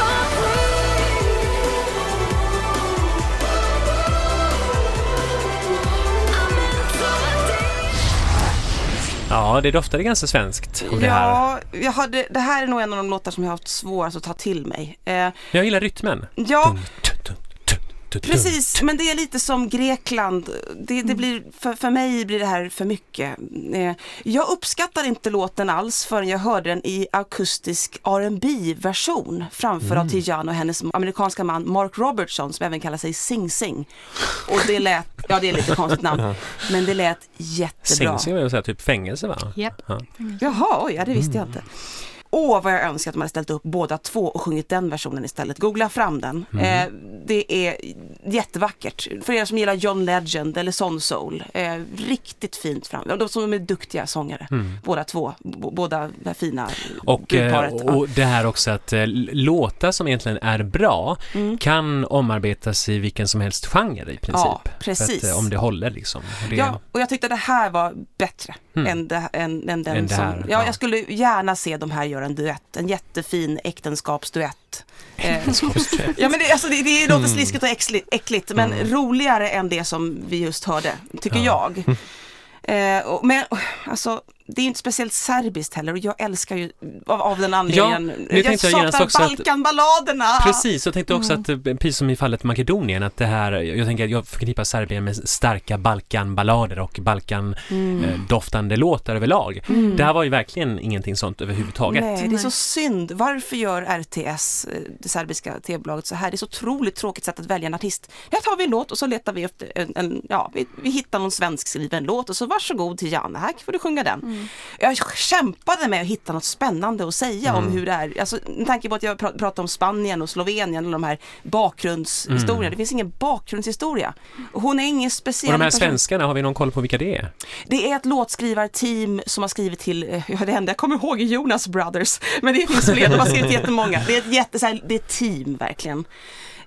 Speaker 5: ooh. I'm in too deep.
Speaker 2: Ja, det doftade ganska svenskt om det här.
Speaker 4: Ja, jag hade, det här är nog en av de låtar som jag har haft svårast att ta till mig. Eh,
Speaker 2: Men jag gillar rytmen.
Speaker 4: ja,
Speaker 2: Dun, tut, tut, tut, tut,
Speaker 4: Precis, men det är lite som Grekland. Det,
Speaker 2: Mm.
Speaker 4: det blir, för, för mig blir det här för mycket. Eh, Jag uppskattar inte låten alls förrän jag hörde den i akustisk R&B version framför
Speaker 2: Mm.
Speaker 4: av Tijan och hennes amerikanska man Mark Robertson som även kallar sig Sing Sing. Och det lät, ja det är lite konstigt namn, men det lät jättebra.
Speaker 2: Sing Sing var ju så här, typ fängelse va?
Speaker 6: Japp.
Speaker 2: Ja.
Speaker 4: Jaha, oj, ja, det
Speaker 2: Mm.
Speaker 4: visste jag inte. Åh, vad jag önskar att de hade ställt upp båda två och sjungit den versionen istället. Googla fram den.
Speaker 2: Mhm.
Speaker 4: Eh, det är jättevackert. För er som gillar John Legend eller Son Soul. Eh, riktigt fint fram. De som är duktiga sångare, båda två. B- båda det här fina
Speaker 2: Mm. Och, eh,
Speaker 4: brudparet. ja.
Speaker 2: och det här också att eh, låtar som egentligen är bra
Speaker 4: Mm.
Speaker 2: kan omarbetas i vilken som helst genre i princip.
Speaker 4: Ja,
Speaker 2: För
Speaker 4: precis.
Speaker 2: att, eh, om det håller liksom. Och det,
Speaker 4: Ja, och jag tyckte det här var bättre än, det, än, än den
Speaker 2: Mm. Än det
Speaker 4: som...
Speaker 2: här,
Speaker 4: ja,
Speaker 2: ja.
Speaker 4: jag skulle gärna se de här göra en duett. En jättefin äktenskapsduett. Eh, ja, men det, alltså, det, det
Speaker 2: Mm.
Speaker 4: låter sliskigt och äckli- äckligt, men roligare än det som vi just hörde, tycker jag. Eh, och, men och, alltså, det är ju inte speciellt serbiskt heller och jag älskar ju av, av den anledningen.
Speaker 2: nu
Speaker 4: jag
Speaker 2: tänkte jag genast
Speaker 4: saknar
Speaker 2: också att-
Speaker 4: Balkanballaderna!
Speaker 2: Precis, jag tänkte
Speaker 4: Mm.
Speaker 2: också att eh, precis som i fallet Makedonien att det här, jag tänker att jag förknippar Serbien med starka Balkanballader och
Speaker 4: Mm.
Speaker 2: Balkan-doftande låtar överlag. Det här var ju verkligen ingenting sånt överhuvudtaget.
Speaker 4: Nej, det är så synd. Varför gör RTS, eh, det serbiska tv-bolaget, så här? Det är så otroligt tråkigt sätt att välja en artist. Här tar vi en låt och så letar vi efter en, en ja, vi, vi hittar någon svensk skriven låt och så varsågod till Janne, här får du sjunga den. Jag kämpade med att hitta något spännande att säga om
Speaker 2: Mm.
Speaker 4: hur det är, alltså med tanke på att jag pra- pratar om Spanien och Slovenien och de här bakgrundshistorierna. Det finns ingen bakgrundshistoria. Hon är ingen speciell
Speaker 2: Mm. Och de här
Speaker 4: person.
Speaker 2: svenskarna, har vi någon koll på vilka det är?
Speaker 4: Det är ett låtskrivarteam som har skrivit till, eh, ja det enda jag kommer ihåg är Jonas Brothers, men det finns fler, de har skrivit jättemånga. Det är ett jätte, så här, det är ett team verkligen.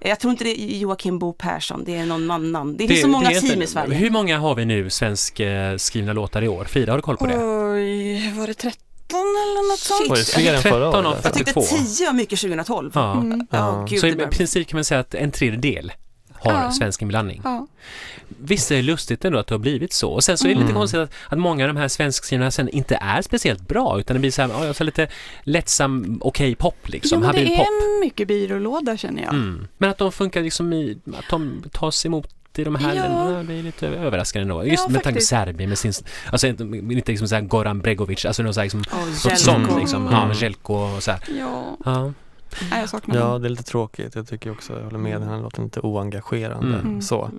Speaker 4: Eh, Jag tror inte det är Joakim Bo Persson, det är någon annan. Det finns så många
Speaker 2: det är
Speaker 4: team
Speaker 2: inte-
Speaker 4: i Sverige.
Speaker 2: Hur många har vi nu svensk eh, skrivna låtar i år? Frida, har du koll på det?
Speaker 3: Oj, var det 13 eller något sånt?
Speaker 4: Shit.
Speaker 1: Var det fler än förra
Speaker 2: 13
Speaker 1: året?
Speaker 2: av
Speaker 4: Jag
Speaker 1: Alltså?
Speaker 4: tyckte
Speaker 2: 42.
Speaker 4: 10 var mycket 2012.
Speaker 2: Ja.
Speaker 3: Mm.
Speaker 4: Ja,
Speaker 1: Ja.
Speaker 4: gud,
Speaker 2: Så
Speaker 4: det
Speaker 2: i
Speaker 4: var-
Speaker 2: princip kan man säga att en tredjedel har
Speaker 3: Ja.
Speaker 2: svensk inblandning.
Speaker 3: Ja.
Speaker 2: Visst är det lustigt ändå att det har blivit så. Och sen så är det lite
Speaker 3: Mm.
Speaker 2: konstigt att, att många av de här svenskskrivna sen inte är speciellt bra utan det blir så här, ja, jag sa lite lättsam, okej pop
Speaker 3: Jo,
Speaker 2: liksom,
Speaker 3: men
Speaker 2: habil
Speaker 3: det
Speaker 2: pop.
Speaker 3: är mycket byrålåda känner jag.
Speaker 2: Mm. Men att de funkar liksom i, att de tas emot i de här
Speaker 3: Ja.
Speaker 2: länderna, det är lite överraskande då. Just
Speaker 3: Ja,
Speaker 2: med tanke på
Speaker 3: faktiskt.
Speaker 2: Serbien med sin, alltså inte, inte liksom såhär Goran Bregovic, alltså något, så här, liksom,
Speaker 4: Och
Speaker 2: något
Speaker 4: Jelko.
Speaker 2: sånt liksom, ja,
Speaker 1: Mm.
Speaker 2: Jelko och så här.
Speaker 3: Ja,
Speaker 2: Ja.
Speaker 3: nej, jag saknar
Speaker 1: Ja,
Speaker 3: ja.
Speaker 1: det är lite tråkigt. Jag tycker också, jag håller med, den här låten är lite oengagerande.
Speaker 2: Mm.
Speaker 1: Så.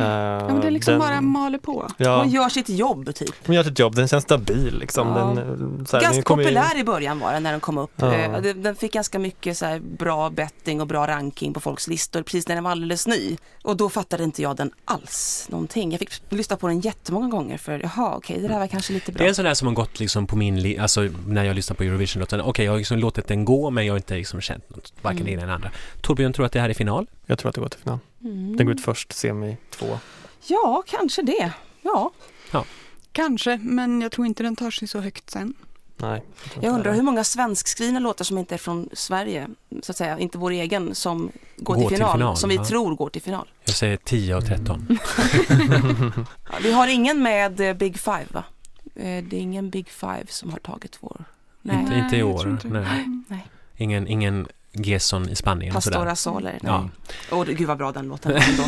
Speaker 1: Eh,
Speaker 3: Ja, men det liksom
Speaker 1: den,
Speaker 3: bara maler på.
Speaker 1: Ja,
Speaker 4: Hon gör sitt jobb typ.
Speaker 1: hon gör sitt jobb, den känns stabil liksom.
Speaker 4: Ja.
Speaker 1: Den, eh, så här, den
Speaker 4: Ganska
Speaker 1: kommer ju-
Speaker 4: populär i början var den när den kom upp.
Speaker 1: Ja.
Speaker 4: Eh, den- Den fick ganska mycket så här bra betting och bra ranking på folks listor precis när den var alldeles ny. Och då fattade inte jag den alls någonting. Jag fick lyssna på den jättemånga gånger för jaha okej det där var kanske lite
Speaker 2: Det är
Speaker 4: bra.
Speaker 2: en sån där som har gått liksom på min, li- alltså när jag lyssnar på Eurovision-låten, okej jag har liksom låtit den gå men jag har inte liksom känt något,
Speaker 3: Mm.
Speaker 2: varken det ena eller det andra. Torbjörn tror att det här är final.
Speaker 1: Jag tror att det går till final.
Speaker 4: Mm.
Speaker 1: Den går ut först, semi, två.
Speaker 4: Ja kanske det. Ja,
Speaker 3: Kanske, men jag tror inte den tar sig så högt sen.
Speaker 1: Nej.
Speaker 4: jag undrar hur många svenskskrivna låtar som inte är från Sverige, så att säga, inte vår egen, som går, till, final, som vi
Speaker 2: ja.
Speaker 4: tror går till final.
Speaker 2: Jag säger 10 och 13.
Speaker 3: Mm.
Speaker 4: Ja, vi har ingen med eh, Big Five va? Eh, Det är ingen Big Five som har tagit vår. Nej,
Speaker 2: Inte, inte i
Speaker 3: jag
Speaker 2: år.
Speaker 3: tror inte Mm. det.
Speaker 2: Nej.
Speaker 4: Nej.
Speaker 2: Ingen, ingen Gesson i Spanien och sådär.
Speaker 4: Pastora Soler. Nej.
Speaker 2: Ja.
Speaker 4: Åh, det- gud vad bra den låten var ändå.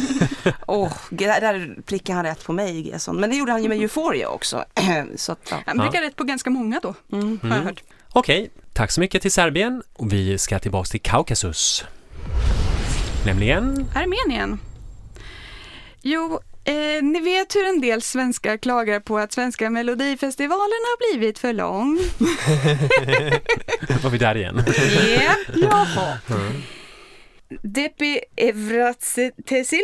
Speaker 4: Åh, där, där prickade han rätt på mig, Gesson. Men det gjorde han ju med Euphoria också. så att, ja.
Speaker 3: Han
Speaker 2: Ja.
Speaker 3: brukar rätt på ganska många då,
Speaker 4: Mm.
Speaker 3: har jag hört.
Speaker 2: Okej, tack så mycket till Serbien och vi ska tillbaks till Kaukasus. Nämligen,
Speaker 3: Armenien. Jo, eh, ni vet hur en del svenskar klagar på att svenska melodifestivalen har blivit för lång.
Speaker 2: var vi där igen.
Speaker 3: Yep. Jaha. Mm. Depi Evratsetesil,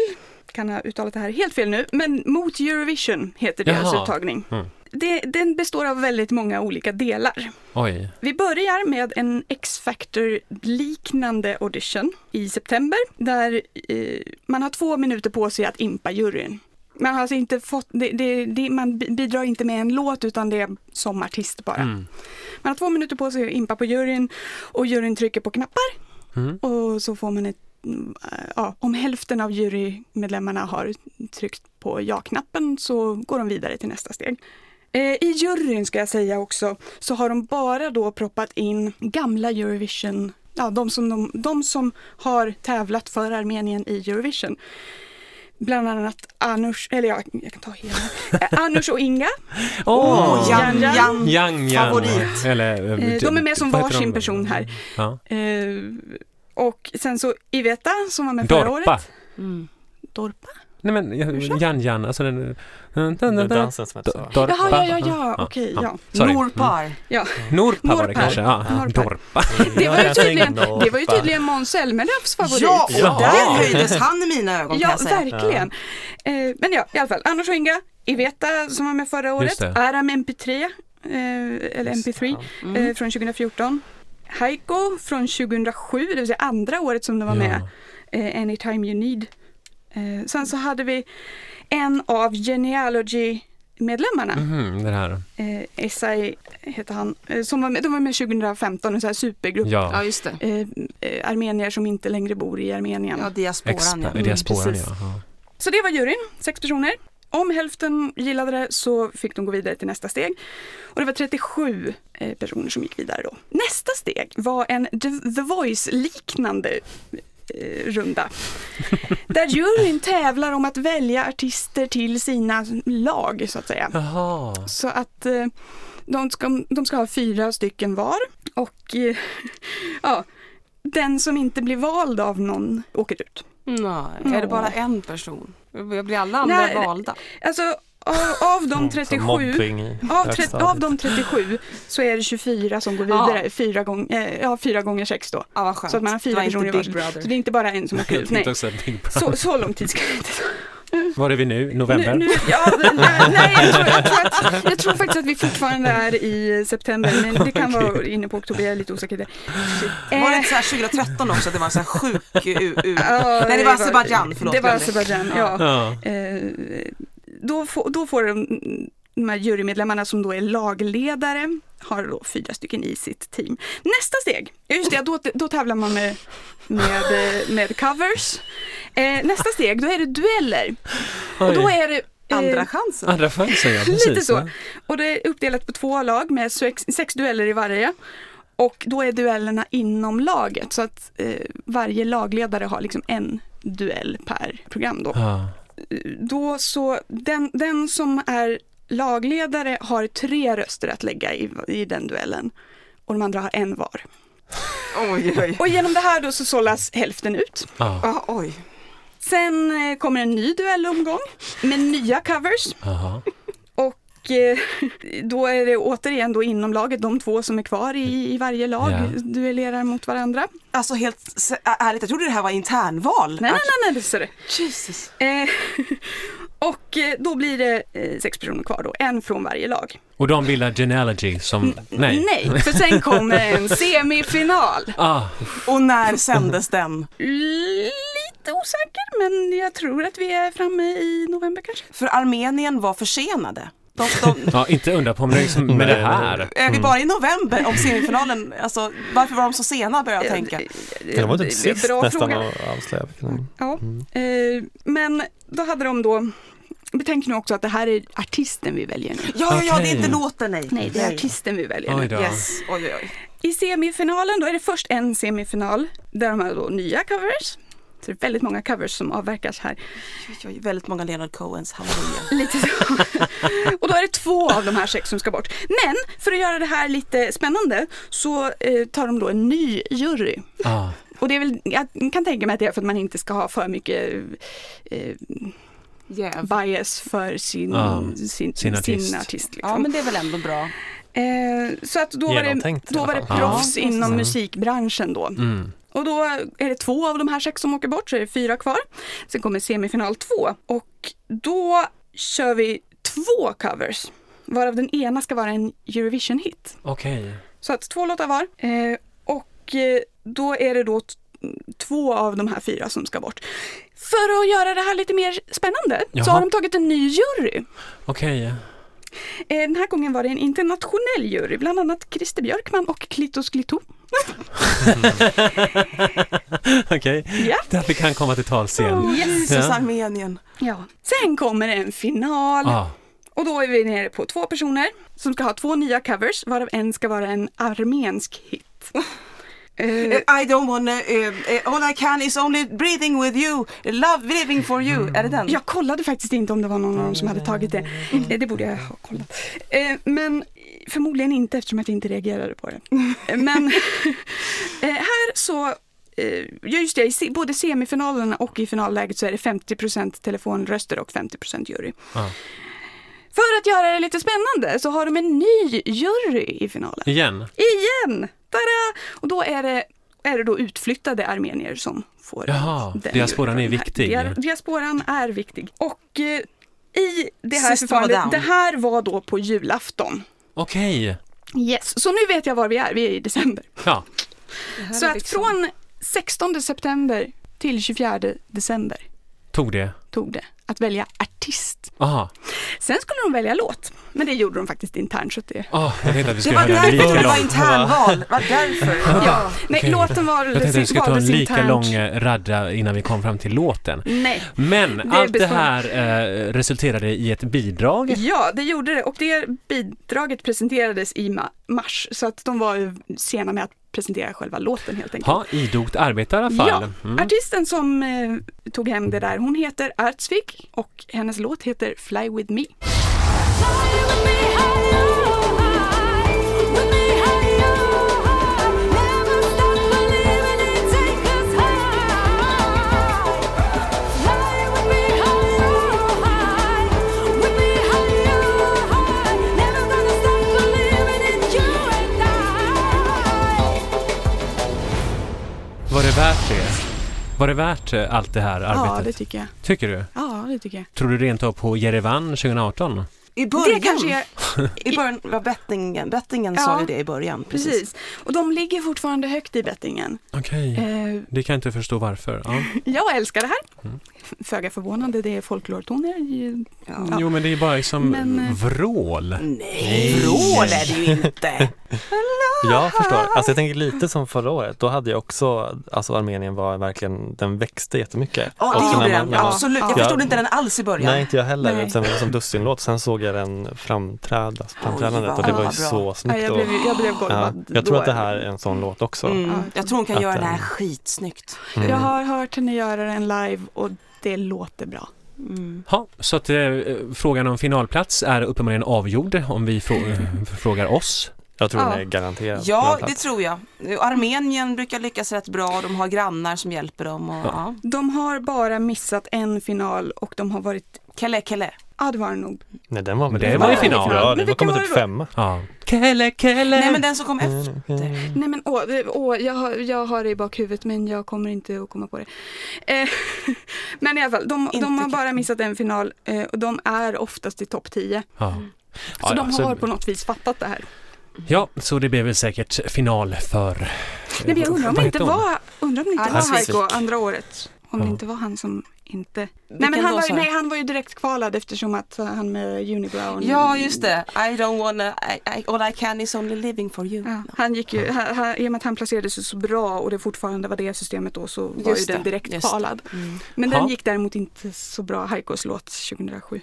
Speaker 3: kan ha uttalat det här helt fel nu, men mot Eurovision heter deras
Speaker 2: Jaha.
Speaker 3: uttagning.
Speaker 2: Mm.
Speaker 3: Det, den består av väldigt många olika delar.
Speaker 2: Oj,
Speaker 3: Vi börjar med en X-Factor-liknande audition i september där eh, man har två minuter på sig att impa juryn. Man, har alltså inte fått, det, det, det, man bi- bidrar inte med en låt utan det är som artist bara.
Speaker 2: Mm.
Speaker 3: Man har två minuter på sig att impa på juryn och juryn trycker på knappar
Speaker 2: Mm.
Speaker 3: och så får man ett mm, äh, Ja, om hälften av jurymedlemmarna har tryckt på ja-knappen så går de vidare till nästa steg. Eh, I juryn ska jag säga också så har de bara då proppat in gamla Eurovision, ja, de, som de, de som har tävlat för Armenien i Eurovision. Bland annat Anush, eller ja, jag kan ta hela. Eh, Anush och Inga,
Speaker 2: Åh,
Speaker 4: Åh, Jan,
Speaker 3: Jan,
Speaker 4: Jan.
Speaker 2: Yang Yang.
Speaker 4: Favorit.
Speaker 2: Eller, eh,
Speaker 3: eh, de är med som
Speaker 2: vad heter
Speaker 3: varsin
Speaker 2: de?
Speaker 3: person här.
Speaker 2: Ja.
Speaker 3: Eh, och sen så Iveta som var med förra året.
Speaker 2: Dorpa.
Speaker 4: Mm.
Speaker 3: Dorpa?
Speaker 2: Nej men eh, Jan Jan, alltså den... den,
Speaker 1: Det
Speaker 2: den,
Speaker 1: är
Speaker 2: den
Speaker 1: dansen alltså. som heter så.
Speaker 2: Do- Dorpa.
Speaker 3: Jaha, ja, ja, ja, okej,
Speaker 2: ja.
Speaker 3: ja.
Speaker 2: Sorry.
Speaker 4: Norpar.
Speaker 2: Mm. Norpa var det
Speaker 3: Norpa.
Speaker 2: kanske, ja.
Speaker 3: Norpa.
Speaker 2: Dorpa.
Speaker 3: Det var ju
Speaker 1: Jag tänkte
Speaker 3: tydligen,
Speaker 1: nog
Speaker 3: det var ju
Speaker 1: bara-
Speaker 3: tydligen Måns Zelmerlöws favorit.
Speaker 4: Ja, och
Speaker 2: Jaha.
Speaker 4: där höjdes han i mina ögon kan
Speaker 3: Ja,
Speaker 4: jag säga.
Speaker 3: verkligen. Eh, men ja, i alla fall. Anders och Inga, Iveta som var med förra året,
Speaker 2: det.
Speaker 3: Aram MP3, eh, eller MP3
Speaker 4: Mm.
Speaker 3: eh, från 2014. Heiko från 2007, det vill säga andra året som de var
Speaker 2: Ja.
Speaker 3: med, eh, Anytime You Need. Eh, sen så hade vi en av Genealogy-medlemmarna,
Speaker 2: Mhm, det här.
Speaker 3: eh, Esai heter han, eh, som var med, de var med 2015, en sån här supergrupp.
Speaker 2: Ja.
Speaker 4: Ja, just det.
Speaker 3: Eh, eh, armenier som inte längre bor i Armenien.
Speaker 4: Ja, diasporan
Speaker 2: Expa-
Speaker 4: ja.
Speaker 2: mm, diasporan,
Speaker 3: precis.
Speaker 2: ja. ja.
Speaker 3: Så det var juryn, sex personer. Om hälften gillade det så fick de gå vidare till nästa steg. Och det var 37 eh, personer som gick vidare då. Nästa steg var en The The Voice-liknande eh, runda. Där juryn tävlar om att välja artister till sina lag så att säga.
Speaker 2: Jaha.
Speaker 3: Så att eh, de, ska, de ska ha fyra stycken var och eh, ja, den som inte blir vald av någon åker ut.
Speaker 4: Mm. Nej, är det bara en person? Blir alla andra
Speaker 3: Nej.
Speaker 4: valda?
Speaker 3: Alltså av, av de
Speaker 1: Mm, som
Speaker 3: 37
Speaker 1: mobbing i
Speaker 3: Av, tre,
Speaker 1: högstadiet.
Speaker 3: av de 37 så är det 24 som går vidare, fyra, gång, eh, ja, fyra gånger sex då.
Speaker 4: Ja, vad skönt.
Speaker 3: Så att man har fyra
Speaker 4: det var
Speaker 3: personer i
Speaker 4: inte Big
Speaker 3: varsin.
Speaker 4: Brother.
Speaker 3: Så det är inte bara en som åker
Speaker 2: Jag
Speaker 3: ut.
Speaker 2: tänkte
Speaker 3: Nej.
Speaker 2: också att Big Brother-
Speaker 3: Så, så lång tid ska det inte ta.
Speaker 2: Var är vi nu? November?
Speaker 3: Nu, nu, ja, nej, nej, jag, tror, jag, tror att, jag tror faktiskt att vi fortfarande är i september, men det kan vara inne på oktober, jag är lite osäker. där. Eh,
Speaker 4: Var det inte så här 2013 också att det var så här sjuk... U, u.
Speaker 3: ja,
Speaker 4: Nej, det var Azerbajdzjan, förlåt.
Speaker 3: Det var
Speaker 4: glömde.
Speaker 3: Azerbajdzjan, ja.
Speaker 2: Ja.
Speaker 3: Eh, då, får, då får de, de här jurymedlemmarna som då är lagledare, har då fyra stycken i sitt team. Nästa steg, ja just det, då, då tävlar man med, med, eh, med covers. Eh, nästa steg, då är det dueller. Och då är det eh,
Speaker 4: Andra chansen.
Speaker 2: Andra chansen, ja. Precis,
Speaker 3: Lite
Speaker 2: ja.
Speaker 3: så. Och det är uppdelat på två lag med sex, sex dueller i varje. Och då är duellerna inom laget så att eh, varje lagledare har liksom en duell per program då
Speaker 2: Ja.
Speaker 3: då så, den, den som är lagledare har tre röster att lägga i, i den duellen och de andra har en var.
Speaker 4: Oj, oj.
Speaker 3: Och genom det här då så sållas hälften ut.
Speaker 2: Ja.
Speaker 4: Ja, oj.
Speaker 3: Sen eh, kommer en ny duellomgång med nya covers.
Speaker 2: Aha.
Speaker 3: Och eh, då är det återigen då inom laget, de två som är kvar i, i varje lag
Speaker 2: Ja.
Speaker 3: duellerar mot varandra.
Speaker 4: Alltså helt se- ä- ärligt, jag trodde det här var internval.
Speaker 3: Nej, nej, nej, nej, det ser du.
Speaker 4: Ah, Jesus.
Speaker 3: Eh, och eh, då blir det eh, sex personer kvar då, en från varje lag.
Speaker 2: Och de bildar Genealogy som... Nej.
Speaker 3: Nej, för sen kommer en semifinal.
Speaker 2: Ah,
Speaker 4: Och när sändes den?
Speaker 3: Lite osäker, men jag tror att vi är framme i november kanske.
Speaker 4: För Armenien var försenade. De, de,
Speaker 2: ja, inte undra på om det är liksom med
Speaker 1: Nej,
Speaker 2: det här.
Speaker 4: är vi bara i november om semifinalen, alltså varför var de så sena börjar jag tänka.
Speaker 1: Det var typ
Speaker 3: Det är
Speaker 1: sist
Speaker 3: bra
Speaker 1: nästan
Speaker 3: fråga.
Speaker 1: att avslöja. vilken-
Speaker 3: Ja, eh, men då hade de då, betänk nu också att det här är artisten vi väljer nu.
Speaker 4: Ja, ja, ja, det är inte
Speaker 2: Okej.
Speaker 4: låten, nej.
Speaker 3: Nej, det är artisten vi väljer
Speaker 2: Oj
Speaker 3: nu.
Speaker 2: då.
Speaker 4: Yes, oj, oj, oj.
Speaker 3: I semifinalen, då är det först en semifinal där de har då nya covers. Så det är väldigt många covers som avverkas här.
Speaker 4: oj, oj. Väldigt många Leonard Cohens haverier.
Speaker 3: Lite så. Och då är det två av de här sex som ska bort. Men för att göra det här lite spännande så eh, tar de då en ny jury.
Speaker 2: Ah,
Speaker 3: Och det är väl, jag kan tänka mig att det är för att man inte ska ha för mycket eh,
Speaker 4: Jäv.
Speaker 3: bias för sin,
Speaker 2: Ja,
Speaker 3: sin,
Speaker 2: sin
Speaker 3: sin
Speaker 2: artist.
Speaker 3: artist.
Speaker 4: Ja,
Speaker 3: liksom.
Speaker 4: men det är väl ändå bra.
Speaker 3: eh, så att då var det,
Speaker 1: Genomtänkt i
Speaker 3: då
Speaker 1: alla
Speaker 3: var det
Speaker 1: fall.
Speaker 3: proffs
Speaker 4: Ja.
Speaker 3: inom
Speaker 4: Mm.
Speaker 3: musikbranschen då.
Speaker 2: mm.
Speaker 3: Och då är det två av de här sex som åker bort, så är det fyra kvar. Sen kommer semifinal två och då kör vi två covers, varav den ena ska vara en Eurovision-hit.
Speaker 2: Okej.
Speaker 3: Så att två låtar var. Eh, och eh, då är det då t- två av de här fyra som ska bort. För att göra det här lite mer spännande så
Speaker 2: Jaha.
Speaker 3: har de tagit en ny jury.
Speaker 2: Okej.
Speaker 3: Eh, Den här gången var det en internationell jury, bland annat Christer Björkman och Klitos Klito.
Speaker 2: Okej.
Speaker 3: Ja.
Speaker 2: Där vi kan komma till tals sen.
Speaker 4: Jesus,
Speaker 2: Ja.
Speaker 4: Armenien.
Speaker 3: Ja. Sen kommer en final
Speaker 2: Ah,
Speaker 3: och då är vi nere på två personer som ska ha två nya covers, varav en ska vara en armensk hit. Eh,
Speaker 4: I don't wanna, eh, eh, all I can is only breathing with you, love living for you.
Speaker 2: Mm.
Speaker 4: Är det den?
Speaker 3: Jag kollade faktiskt inte om det var någon av dem som hade tagit det. Eh, Det borde jag ha kollat. Eh, Men förmodligen inte eftersom jag inte reagerade på det. Eh, Men eh, här så, eh, ja, just det, i se- både semifinalerna och i finalläget så är det 50 telefonröster och 50 jury.
Speaker 2: Ja.
Speaker 3: För att göra det lite spännande så har de en ny jury i finalen.
Speaker 2: igen.
Speaker 3: Igen! Tada! Och då är det, är det då utflyttade armenier som får
Speaker 2: Jaha,
Speaker 3: den
Speaker 2: diasporan är
Speaker 3: juryn.
Speaker 2: viktig.
Speaker 3: Dia- Diasporan är viktig. Och eh, i det här
Speaker 4: Sist var down.
Speaker 3: förfarandet, det här var då på julafton.
Speaker 2: Okej.
Speaker 3: Yes, så nu vet jag var vi är, vi är i december.
Speaker 2: Ja.
Speaker 3: Så att från 16 september till 24 december
Speaker 2: Tog det.
Speaker 3: tog det att välja artist.
Speaker 2: Aha.
Speaker 3: Sen skulle de välja låt, men det gjorde de faktiskt internt så att det...
Speaker 2: Ah, jag tänkte att vi
Speaker 4: Det
Speaker 2: skulle
Speaker 4: var
Speaker 2: höra en
Speaker 4: därför
Speaker 2: lika
Speaker 4: det var
Speaker 2: lång.
Speaker 4: internval. Det var därför. Ja.
Speaker 3: Nej,
Speaker 2: Okej.
Speaker 3: låten var...
Speaker 2: Jag tänkte att vi skulle ta en
Speaker 3: valdes
Speaker 2: lika
Speaker 3: internt.
Speaker 2: lång eh, radda innan vi kom fram till låten.
Speaker 3: Nej.
Speaker 2: Men
Speaker 3: är
Speaker 2: allt det
Speaker 3: bestående.
Speaker 2: här eh, resulterade i ett bidrag.
Speaker 3: Ja, det gjorde det och det bidraget presenterades i ma- mars så att de var ju sena med att presentera själva låten helt enkelt.
Speaker 2: Ja, idogt arbete i alla fall. Mm.
Speaker 3: Ja, artisten som eh, tog hem det där, hon heter Artsvik och hennes låt heter Fly With Me.
Speaker 2: Var det värt det? Var det värt eh, allt det här
Speaker 3: Ja, det
Speaker 2: arbetet?
Speaker 3: tycker jag.
Speaker 2: Tycker du?
Speaker 3: Ja, det tycker jag.
Speaker 2: Tror du rent av på Jerevan 2018?
Speaker 4: I
Speaker 3: Det
Speaker 4: början,
Speaker 3: kanske är,
Speaker 4: i början var bettingen, bettingen sa
Speaker 3: Ja.
Speaker 4: ju det i början. Precis.
Speaker 3: precis. Och de ligger fortfarande högt i bettingen.
Speaker 2: Okej.
Speaker 3: Eh,
Speaker 2: Det kan jag inte förstå varför. Ja.
Speaker 3: jag älskar det här. Föga förvånande, det är folklortoner. Ja.
Speaker 2: Jo, men det är bara liksom
Speaker 3: Men, eh,
Speaker 2: vrål.
Speaker 4: Nej, vrål är det ju inte.
Speaker 1: Jag förstår. Alltså jag tänker lite som förra året. Då hade jag också, alltså Armenien var verkligen, den växte jättemycket.
Speaker 4: Ja,
Speaker 1: Och
Speaker 4: det
Speaker 1: så
Speaker 4: gjorde
Speaker 1: Alltså, när man-
Speaker 4: den.
Speaker 1: när man-
Speaker 4: Absolut. Jag
Speaker 1: Ja.
Speaker 4: förstod inte den alls i början.
Speaker 1: Nej, inte jag heller.
Speaker 3: Nej.
Speaker 1: Sen var det som dussinlåt. Sen såg jag den framträdas, framträdandet
Speaker 4: vad-
Speaker 1: och det
Speaker 4: ja,
Speaker 1: var ju
Speaker 4: vad bra.
Speaker 1: så
Speaker 3: Ja,
Speaker 1: snyggt.
Speaker 3: jag
Speaker 1: Och,
Speaker 3: blev, jag blev
Speaker 1: ja,
Speaker 3: golvad.
Speaker 1: jag tror
Speaker 3: då.
Speaker 1: att det här är en sån låt också.
Speaker 4: Mm. Jag tror hon kan
Speaker 1: Att
Speaker 4: göra den här
Speaker 1: den-
Speaker 4: skitsnyggt.
Speaker 1: Mm.
Speaker 3: Jag har hört henne göra den live och det låter bra.
Speaker 4: Mm.
Speaker 2: Ja, så att eh, frågan om finalplats är uppenbarligen avgjord om vi frå- eh, frågar oss.
Speaker 1: Jag tror
Speaker 3: Ja.
Speaker 1: den är garanterad.
Speaker 4: Ja,
Speaker 1: blandplats.
Speaker 4: det tror jag. Armenien brukar lyckas rätt bra, de har grannar som hjälper dem. Och, ja.
Speaker 3: De har bara missat en final och de har varit,
Speaker 4: Kelle, kelle.
Speaker 3: ja det var det nog.
Speaker 1: Nej, den var
Speaker 2: Men det var ju final.
Speaker 1: Ja,
Speaker 3: Men
Speaker 1: den var
Speaker 3: vilka
Speaker 1: kommit
Speaker 3: var
Speaker 1: upp
Speaker 3: det då?
Speaker 1: femma.
Speaker 2: Ja. Kelle, Kelle!
Speaker 4: Nej, men den som kom
Speaker 1: Mm.
Speaker 4: efter.
Speaker 3: Nej men åh, det- åh jag, har, jag har det i bakhuvudet men jag kommer inte att komma på det. Eh, men i alla fall, de,
Speaker 4: Inte
Speaker 3: de har
Speaker 4: klart.
Speaker 3: bara missat en final eh, och de är oftast i topp 10.
Speaker 2: ja.
Speaker 3: Så
Speaker 2: Ja,
Speaker 3: de
Speaker 2: ja,
Speaker 3: har på något vis fattat det här.
Speaker 2: Ja, så det blev väl säkert final för...
Speaker 3: Nej, men jag undrar om det
Speaker 2: Vad
Speaker 3: inte
Speaker 2: heter hon?
Speaker 3: var, undrar om det inte
Speaker 4: Anna
Speaker 3: var
Speaker 1: Sivik.
Speaker 3: Heiko andra året. Om det
Speaker 2: Ja.
Speaker 3: inte var han som inte... Nej, men han
Speaker 4: då,
Speaker 3: var,
Speaker 4: sa
Speaker 3: ju-
Speaker 4: du?
Speaker 3: nej, han var ju direkt kvalad eftersom att eh, han med Unibrown...
Speaker 4: Ja, just det. I don't wanna, I, I, all I can is only living for you.
Speaker 3: Ja, han gick ju, han, han, I och med att han placerade sig så bra och det fortfarande var det systemet då så var
Speaker 4: Just
Speaker 3: ju den
Speaker 4: det,
Speaker 3: direkt
Speaker 4: just det.
Speaker 3: kvalad. Men
Speaker 2: Ja.
Speaker 3: den gick däremot inte så bra, Haikos låt 2007.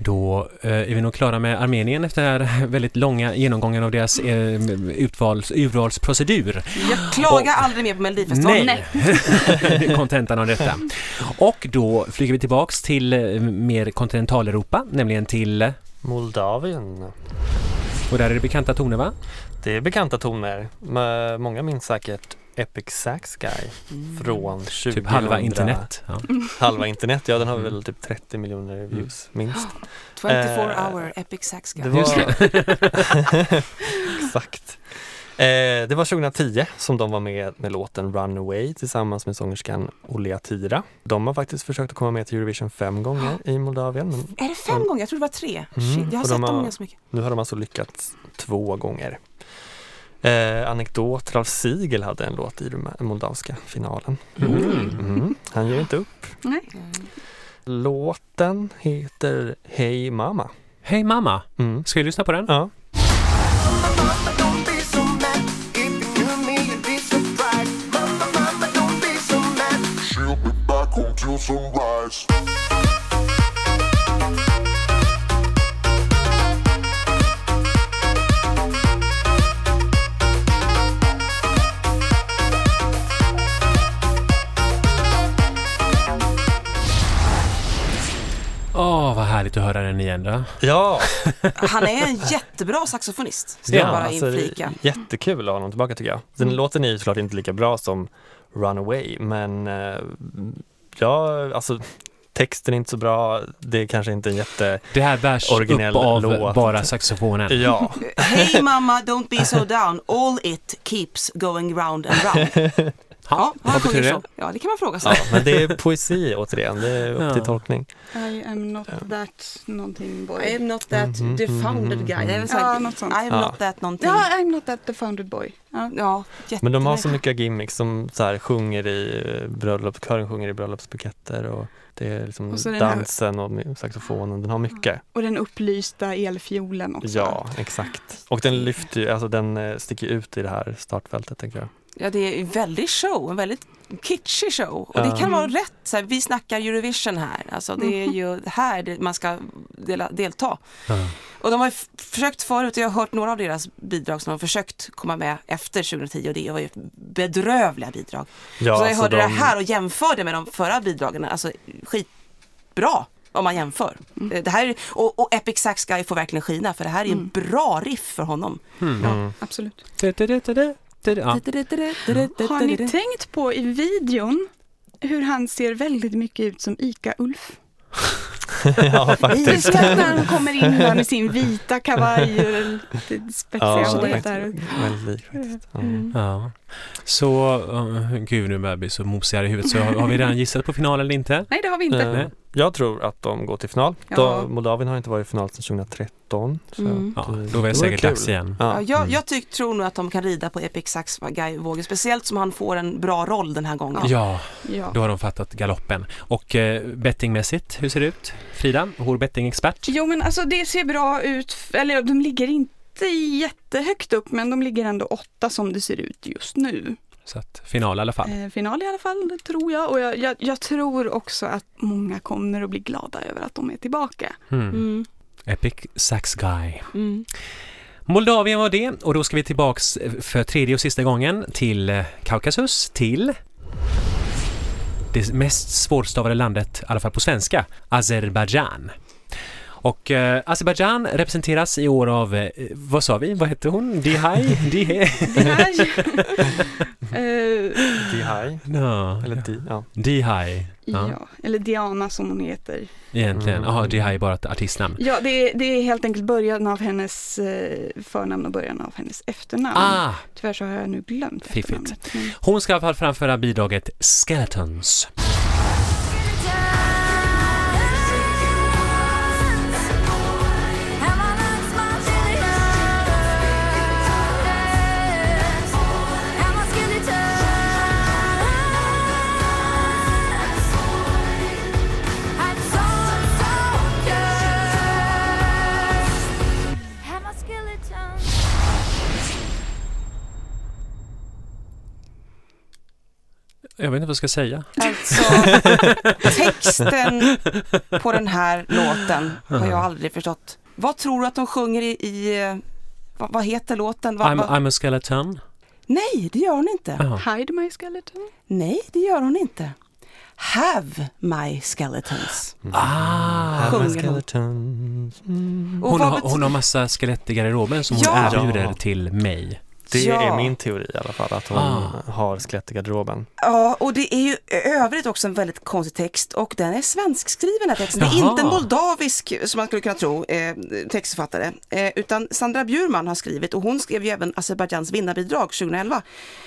Speaker 2: Då eh, är vi nog klara med Armenien efter den här väldigt långa genomgången av deras eh, utvals, urvalsprocedur.
Speaker 4: Jag klagar aldrig mer på Melodifestivalen.
Speaker 2: Nej,
Speaker 1: Eh,
Speaker 2: det är kontentan av detta. Och då flyger vi tillbaks till eh, mer kontinentaleuropa, nämligen till...
Speaker 1: Moldavien.
Speaker 2: Och där är det bekanta toner va?
Speaker 1: Det är bekanta toner. Men Många minns säkert Epic Sax Guy
Speaker 4: Mm.
Speaker 1: från 2000.
Speaker 2: Typ halva internet. Ja.
Speaker 1: Halva internet, ja den har väl typ 30 miljoner views minst.
Speaker 4: 24
Speaker 1: Eh,
Speaker 4: hour epic sax guy.
Speaker 1: Det var... Exakt. Eh, det var 2010 som de var med med låten Runaway tillsammans med sångerskan Olea Tira. De har faktiskt försökt att komma med till Eurovision fem gånger i Moldavien men
Speaker 4: Är det fem
Speaker 1: Mm.
Speaker 4: gånger? Jag trodde det var tre.
Speaker 1: Mm,
Speaker 4: Shit, jag har
Speaker 1: och
Speaker 4: sett
Speaker 1: de har-
Speaker 4: dem ganska mycket.
Speaker 1: nu har de alltså lyckats två gånger. Eh, anekdot, Ralf Siegel hade en låt i den moldavska finalen. Mm. Han ger inte upp.
Speaker 3: Nej.
Speaker 1: Låten heter Hey Mama.
Speaker 2: Hej mamma!
Speaker 1: Mm.
Speaker 2: Ska vi lyssna på den?
Speaker 1: Ja.
Speaker 6: She'll be back until sunrise.
Speaker 2: Åh, vad härligt att höra den igen då.
Speaker 1: ja.
Speaker 4: Han är en jättebra saxofonist, ska
Speaker 2: Ja,
Speaker 4: jag bara
Speaker 1: alltså, det är
Speaker 4: inflika. Mm.
Speaker 1: jättekul att ha honom tillbaka tycker jag. Den låten är ju såklart inte lika bra som Runaway men eh, ja, alltså texten är inte så bra. Det är kanske inte en jätte...
Speaker 2: Det här bärs
Speaker 1: Originell
Speaker 2: upp av
Speaker 1: låt.
Speaker 2: bara saxofonen.
Speaker 1: Ja,
Speaker 4: Hey mama, don't be so down. All it keeps going round and round. Ja, har
Speaker 2: vad
Speaker 4: han sjungit
Speaker 2: betyder
Speaker 4: så?
Speaker 2: det?
Speaker 4: Ja, det kan man fråga sig.
Speaker 1: ja, men det är poesi återigen. Det är upp
Speaker 2: Ja.
Speaker 1: till tolkning.
Speaker 3: I am not that någonting
Speaker 4: I
Speaker 3: boy.
Speaker 4: am not that defounded guy. Det är väl så här,
Speaker 3: Ja, något sånt.
Speaker 4: I am
Speaker 1: Mhm, Ja.
Speaker 4: not that någonting.
Speaker 3: Ja, I'm not that the founded boy. Ja.
Speaker 4: Ja, jätte-
Speaker 1: Men de har
Speaker 3: alltså-
Speaker 1: så mycket gimmicks som så här, sjunger i eh, bröllops, kören sjunger i bröllopsbuketter och det är liksom
Speaker 3: Och så den här-
Speaker 1: dansen och saxofonen. Den har mycket.
Speaker 3: Och den upplysta elfiolen också.
Speaker 1: Ja, exakt. Och den lyfter ju, alltså den eh, sticker ut i det här startfältet tänker jag.
Speaker 4: ja, det är en väldig show, en väldigt kitschig show. Och
Speaker 1: Ja. Mm.
Speaker 4: det kan vara rätt. Så här, vi snackar Eurovision här. Alltså, det är ju här det- man ska dela, delta.
Speaker 2: Ja.
Speaker 4: Och de har ju f- försökt förut, jag har hört några av deras bidrag som de har försökt komma med efter 2010 och det var ju bedrövliga bidrag.
Speaker 1: Ja,
Speaker 4: så jag
Speaker 1: alltså
Speaker 4: hörde
Speaker 1: de-
Speaker 4: det här och jämförde med de förra bidragen, alltså skitbra om man jämför. Eh, Det här är, och, och Epic Sax Guy får verkligen skina för det här är en bra riff för honom.
Speaker 1: Mm.
Speaker 3: Absolut.
Speaker 2: Ja.
Speaker 3: Har ni tänkt på i videon hur han ser väldigt mycket ut som ICA-Ulf?
Speaker 1: Ja, faktiskt.
Speaker 3: Just när han kommer in där med sin vita kavaj och den lite spetsiga
Speaker 1: Ja,
Speaker 3: håret
Speaker 1: faktiskt.
Speaker 3: där.
Speaker 1: Väldigt lik faktiskt. Ja.
Speaker 4: Mm.
Speaker 2: Ja. Så, eh, gud nu börjar jag bli så mosigare i huvudet så har, har vi redan gissat på finalen eller inte?
Speaker 3: Nej, det har vi inte.
Speaker 1: Eh, Jag tror att de går till final.
Speaker 3: Ja.
Speaker 1: De, Moldavien har inte varit i final sedan 2013. Så
Speaker 4: Mm.
Speaker 2: Ja,
Speaker 1: det-
Speaker 2: då var
Speaker 1: det
Speaker 2: det säkert
Speaker 1: kul.
Speaker 2: dags igen.
Speaker 4: Ja,
Speaker 1: Ja.
Speaker 4: jag jag tyck, tror nog att de kan rida på Epic Sax Guy-vågen, speciellt som han får en bra roll den här gången.
Speaker 2: Ja,
Speaker 3: Ja.
Speaker 2: Eh, då har de fattat galoppen. Och eh, bettingmässigt, hur ser det ut? Frida, vår bettingexpert.
Speaker 3: Jo, men alltså det ser bra ut. Eller de ligger inte jättehögt upp, men de ligger ändå åtta som det ser ut just nu.
Speaker 2: Så att final i alla fall.
Speaker 3: Eh, final i alla fall, det tror jag. Och jag, jag, jag tror också att många kommer att bli glada över att de är tillbaka.
Speaker 2: Mm.
Speaker 4: Mm.
Speaker 2: Epic Sax Guy.
Speaker 4: Mm.
Speaker 2: Moldavien var det och då ska vi tillbaks eh, för tredje och sista gången till eh, Kaukasus, till det mest svårstavade landet, i alla fall på svenska, Azerbajdzjan. Och eh, Azerbajdzjan representeras i år av, eh, vad sa vi, vad hette hon? Dihai? Dihai?
Speaker 3: Det här, eh,
Speaker 1: Dihai,
Speaker 2: No.
Speaker 1: Mm. eller Di, ja.
Speaker 2: Dihai, Ja.
Speaker 3: ja, eller Diana som hon heter.
Speaker 2: egentligen.
Speaker 1: Mm.
Speaker 2: Jaha, Dihai är bara ett artistnamn.
Speaker 3: Ja, det är, det är helt enkelt början av hennes eh, förnamn och början av hennes efternamn.
Speaker 2: Ah,
Speaker 3: Tyvärr så har jag nu glömt
Speaker 2: Fiffigt.
Speaker 3: efternamnet. Men,
Speaker 2: hon ska i alla fall framföra bidraget Skeletons.
Speaker 5: Skeleton.
Speaker 2: Jag vet inte vad jag ska säga.
Speaker 4: Alltså, texten på den här låten har jag aldrig förstått. Vad tror du att de sjunger i, i eh, vad, vad heter låten? Vad,
Speaker 2: I'm,
Speaker 4: vad?
Speaker 2: I'm a skeleton.
Speaker 4: Nej, det gör hon inte.
Speaker 2: Ja.
Speaker 3: Hide my skeleton.
Speaker 4: Nej, det gör hon inte. Have my skeletons.
Speaker 2: Ah,
Speaker 1: Have my
Speaker 4: Sjunger hon.
Speaker 1: skeletons.
Speaker 4: Och
Speaker 2: hon,
Speaker 4: vad
Speaker 2: har,
Speaker 4: bety-
Speaker 2: hon har massa skelett i garderoben som hon
Speaker 4: Ja.
Speaker 2: erbjuder
Speaker 1: Ja.
Speaker 2: till mig.
Speaker 1: Det
Speaker 4: Ja.
Speaker 1: är min teori i alla fall, att hon
Speaker 2: Ah.
Speaker 1: har skelett i garderoben.
Speaker 4: Ja, och det är ju i övrigt också en väldigt konstig text och den är svenskskriven den här texten. Det
Speaker 2: Jaha.
Speaker 4: är inte en moldavisk, som man skulle kunna tro, eh, textförfattare, eh, utan Sandra Bjurman har skrivit och hon skrev ju även Azerbajdzjans vinnarbidrag 2011.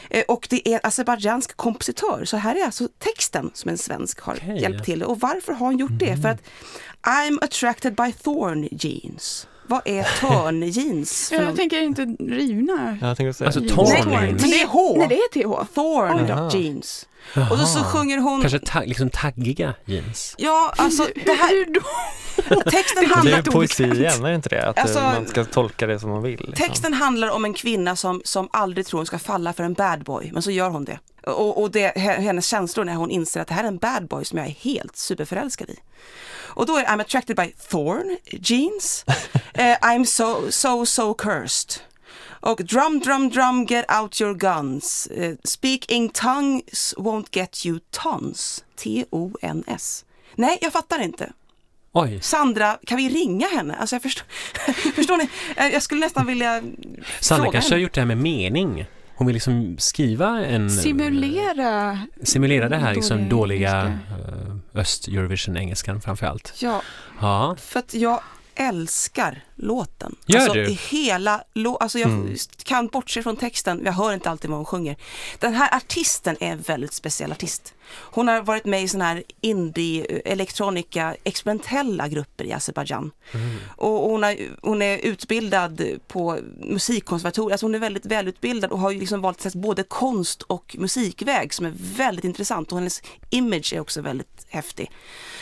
Speaker 4: Eh, och det är en azerbajdzjansk kompositör, så här är alltså texten som en svensk har
Speaker 2: Okej. Mm.
Speaker 4: hjälpt till. Och varför har hon gjort det? För att I'm attracted by thorn jeans. Vad är törn jeans för
Speaker 3: Jag
Speaker 4: något?
Speaker 3: tänker inte rivna.
Speaker 1: Jag tänkte säga.
Speaker 2: Alltså
Speaker 4: Mm.
Speaker 1: Alltså,
Speaker 2: torn.
Speaker 3: Nej,
Speaker 2: Torn.
Speaker 3: men det,
Speaker 4: TH.
Speaker 3: nej, det är TH.
Speaker 4: Thorn
Speaker 1: Jaha.
Speaker 4: jeans. Och då så
Speaker 2: Jaha.
Speaker 4: sjunger hon
Speaker 2: Kanske ta- liksom taggiga jeans.
Speaker 4: Ja, alltså det här,
Speaker 3: Hur då?
Speaker 4: texten,
Speaker 1: det är
Speaker 4: handlar,
Speaker 1: ju poesi igen, är det inte det? Att eh,
Speaker 4: Alltså-
Speaker 1: man ska tolka det som man vill. liksom.
Speaker 4: texten handlar om en kvinna som, som aldrig tror hon ska falla för en bad boy, men så gör hon det. Och, och det, hennes känslor när hon inser att det här är en bad boy som jag är helt superförälskad i. Och då är I'm attracted by thorn jeans, eh, I'm so, so, so cursed. Och drum, drum, drum, get out your guns. Eh, speaking tongues won't get you tons. T-O-N-S. Nej, jag fattar inte.
Speaker 2: Oj.
Speaker 4: Sandra, kan vi ringa henne? Alltså jag förstår, förstår ni? Eh, Jag skulle nästan vilja
Speaker 2: Sandra
Speaker 4: fråga
Speaker 2: kanske har
Speaker 4: henne.
Speaker 2: gjort det här med mening. Hon vill liksom skriva en...
Speaker 3: Simulera.
Speaker 2: simulera det här liksom
Speaker 3: Dåliga
Speaker 2: dåliga eh, öst-Eurovision-engelskan framförallt.
Speaker 3: Ja,
Speaker 2: Ja.
Speaker 4: För att jag älskar låten.
Speaker 2: Gör
Speaker 4: alltså,
Speaker 2: du?
Speaker 4: i Hela lå- alltså jag
Speaker 1: Mm.
Speaker 4: kan bortse från texten, jag hör inte alltid vad hon sjunger. Den här artisten är en väldigt speciell artist. Hon har varit med i sådana här indie, eh, elektronika, experimentella grupper i Azerbajdzjan.
Speaker 1: Mm.
Speaker 4: Och hon, har, hon är utbildad på musikkonservatoriet, alltså hon är väldigt välutbildad och har ju liksom valt sig både konst och musikväg som är väldigt intressant och hennes image är också väldigt häftig.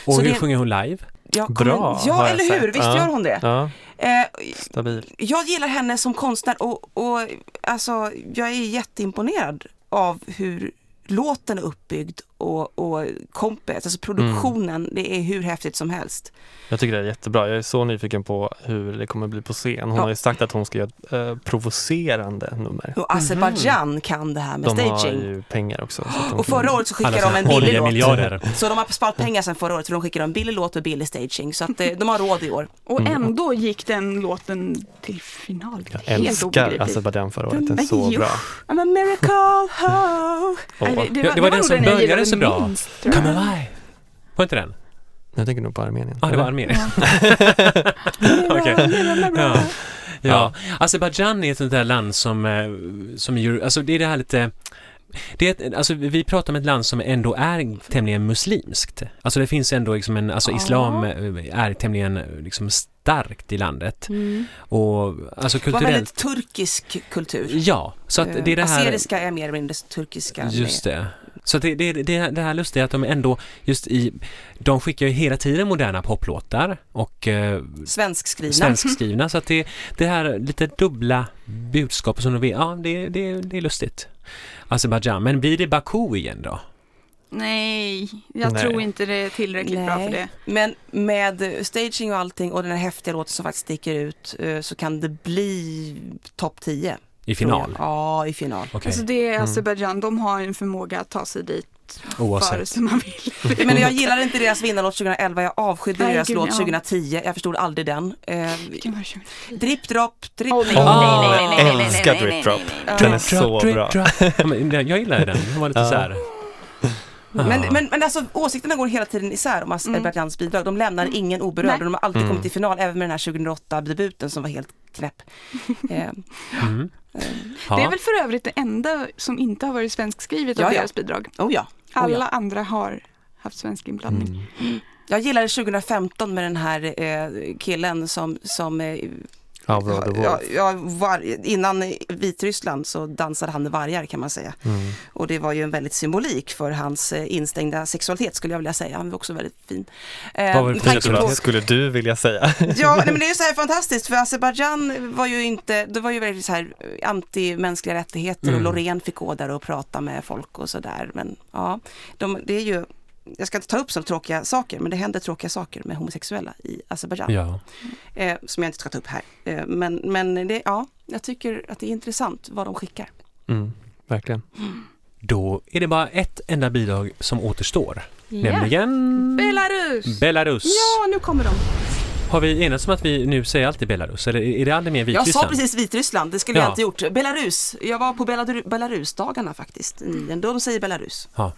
Speaker 2: Och
Speaker 4: Så
Speaker 2: hur
Speaker 4: det-
Speaker 2: sjunger hon live?
Speaker 4: Jag kommer-
Speaker 1: Bra, har
Speaker 4: Ja,
Speaker 1: jag
Speaker 4: eller hur?
Speaker 1: sett.
Speaker 4: Visst
Speaker 1: Ja.
Speaker 4: gör hon det?
Speaker 1: Ja,
Speaker 4: Eh,
Speaker 1: stabil.
Speaker 4: jag gillar henne som konstnär och, och alltså, jag är jätteimponerad av hur låten är uppbyggd och, och kompet, alltså produktionen,
Speaker 2: Mm.
Speaker 4: det är hur häftigt som helst.
Speaker 1: Jag tycker det är jättebra. Jag är så nyfiken på hur det kommer bli på scen. Hon
Speaker 4: Ja.
Speaker 1: har ju sagt att hon ska göra ett eh, provocerande nummer.
Speaker 2: Mhm.
Speaker 4: Och Azerbajdzjan kan det här med
Speaker 1: De har
Speaker 4: staging.
Speaker 1: ju pengar också. Så att de
Speaker 4: Och förra året så skickade de en
Speaker 2: sina
Speaker 4: billig låt.
Speaker 2: oljemiljarder.
Speaker 4: Så de har sparat pengar sedan förra året för de skickade en billig låt och billig staging. Så att eh, de har råd i år.
Speaker 3: och ändå gick den låten till final.
Speaker 1: Jag
Speaker 3: Helt
Speaker 1: älskar
Speaker 3: obegripligt.
Speaker 1: Azerbajdzjan förra året. Den är
Speaker 3: Den-
Speaker 1: så
Speaker 3: Jo.
Speaker 1: bra.
Speaker 4: I'm a miracle ho!
Speaker 1: Åh.
Speaker 3: Nej,
Speaker 2: Det- det var
Speaker 3: nog
Speaker 2: den som
Speaker 3: jag gillade
Speaker 2: började så bra.
Speaker 3: minst, tror jag.
Speaker 2: Come alive! Var inte den?
Speaker 1: Jag tänker nog på Armenien.
Speaker 2: Ja, ah, det var
Speaker 1: Eller?
Speaker 2: Armenien. Okej. Ja. Ja. Azerbajdzjan är ett sånt där land som, eh, som är, ju- alltså det är det här lite det är ett, alltså vi pratar om ett land som ändå är tämligen muslimskt. Alltså det finns ändå liksom en, alltså
Speaker 3: Ja.
Speaker 2: islam eh, är tämligen eh, liksom starkt i landet. Och alltså
Speaker 4: Mm. Det var
Speaker 2: kulturellt.
Speaker 4: väldigt turkisk kultur.
Speaker 2: Ja, så att det är det här.
Speaker 4: Aseriska är mer eller mindre turkiska.
Speaker 2: Just det. Så att det, det, det, det här lustiga är att de ändå just i, de skickar ju hela tiden moderna poplåtar och eh,
Speaker 4: Svenskskrivna.
Speaker 2: svenskskrivna. Så att det, det här lite dubbla budskapet som de vill, ja det, det, det är lustigt. Azerbajdzjan, men blir det Baku igen då?
Speaker 3: Nej, jag
Speaker 1: Nej.
Speaker 3: tror inte det är tillräckligt bra för det.
Speaker 4: Men med staging och allting och den här häftiga låten som faktiskt sticker ut eh, så kan det bli topp 10.
Speaker 2: I
Speaker 4: tror jag.
Speaker 2: final?
Speaker 4: Ja, i final.
Speaker 2: Okej.
Speaker 3: Alltså det är Azerbajdzjan, de har en förmåga att ta sig dit låt för
Speaker 2: Oavsett.
Speaker 3: som man vill.
Speaker 4: Men jag gillade inte deras vinnarlåt 2011, jag avskydde
Speaker 3: Nej,
Speaker 4: deras
Speaker 3: gud,
Speaker 4: låt
Speaker 3: ja.
Speaker 4: 2010, jag förstod aldrig den. Eh,
Speaker 3: Gud, vad kul.
Speaker 4: Dripp, dropp, dripp.
Speaker 5: Oh, nej,
Speaker 2: Åh,
Speaker 5: nej, nej, nej, nej, nej, nej,
Speaker 1: älskar
Speaker 5: nej, nej,
Speaker 1: Drip Drop.
Speaker 4: eh,
Speaker 5: nej, nej.
Speaker 1: Den är så
Speaker 2: Drip,
Speaker 1: bra.
Speaker 2: drop. Ja, men den- Jag gillade den, den var lite så här.
Speaker 4: Men, men, men alltså åsikterna går hela tiden isär om Azerbajdzjans bidrag. De lämnar ingen oberörd
Speaker 3: Mm. Nej.
Speaker 4: och de har alltid kommit till final, även med den här 2008-debuten som var helt knäpp. Eh,
Speaker 3: Det
Speaker 2: Mm. Ja.
Speaker 3: är väl för övrigt det enda som inte har varit svenskskrivet av
Speaker 4: Ja, ja.
Speaker 3: deras bidrag.
Speaker 4: oh ja.
Speaker 3: Alla
Speaker 4: Oh ja.
Speaker 3: andra har haft svensk
Speaker 2: Mm.
Speaker 3: inblandning.
Speaker 4: Jag gillade 2015 med den här eh, killen som, som eh,
Speaker 1: Ja, bra, det
Speaker 4: ja,
Speaker 1: var.
Speaker 4: ja, var, innan Vitryssland så dansade han med vargar kan man säga. Och det var ju en väldigt symbolik för hans eh, instängda sexualitet skulle jag vilja säga. Han var också väldigt fin. Eh,
Speaker 2: Vad var det
Speaker 4: med
Speaker 2: för
Speaker 4: tanke på-
Speaker 2: sexualitet?
Speaker 1: Vad skulle du vilja säga?
Speaker 4: Ja, nej, men det är ju så här fantastiskt för Azerbajdzjan var ju inte, det var ju väldigt så här eh, anti-mänskliga rättigheter och Loreen fick gå där och prata med folk och sådär. Men ja, de, det är ju, jag ska inte ta upp så tråkiga saker, men det händer tråkiga saker med homosexuella i Azerbajdzjan.
Speaker 2: Ja.
Speaker 4: Eh, som jag inte ska ta upp här. Eh, men men det, ja, jag tycker att det är intressant vad de skickar.
Speaker 1: Mm, verkligen.
Speaker 2: Då är det bara ett enda bidrag som återstår,
Speaker 4: Mm.
Speaker 5: Ja.
Speaker 2: nämligen
Speaker 3: Belarus!
Speaker 2: Belarus.
Speaker 3: Ja, nu kommer de.
Speaker 2: Har vi enats om att vi nu säger alltid Belarus, eller är det aldrig mer
Speaker 4: Jag
Speaker 2: Vitryssland?
Speaker 4: sa precis Vitryssland, det skulle
Speaker 2: Ja.
Speaker 4: jag inte gjort. Belarus, jag var på Belarus- Belarusdagarna faktiskt, nyligen. De säger Belarus.
Speaker 2: Ja.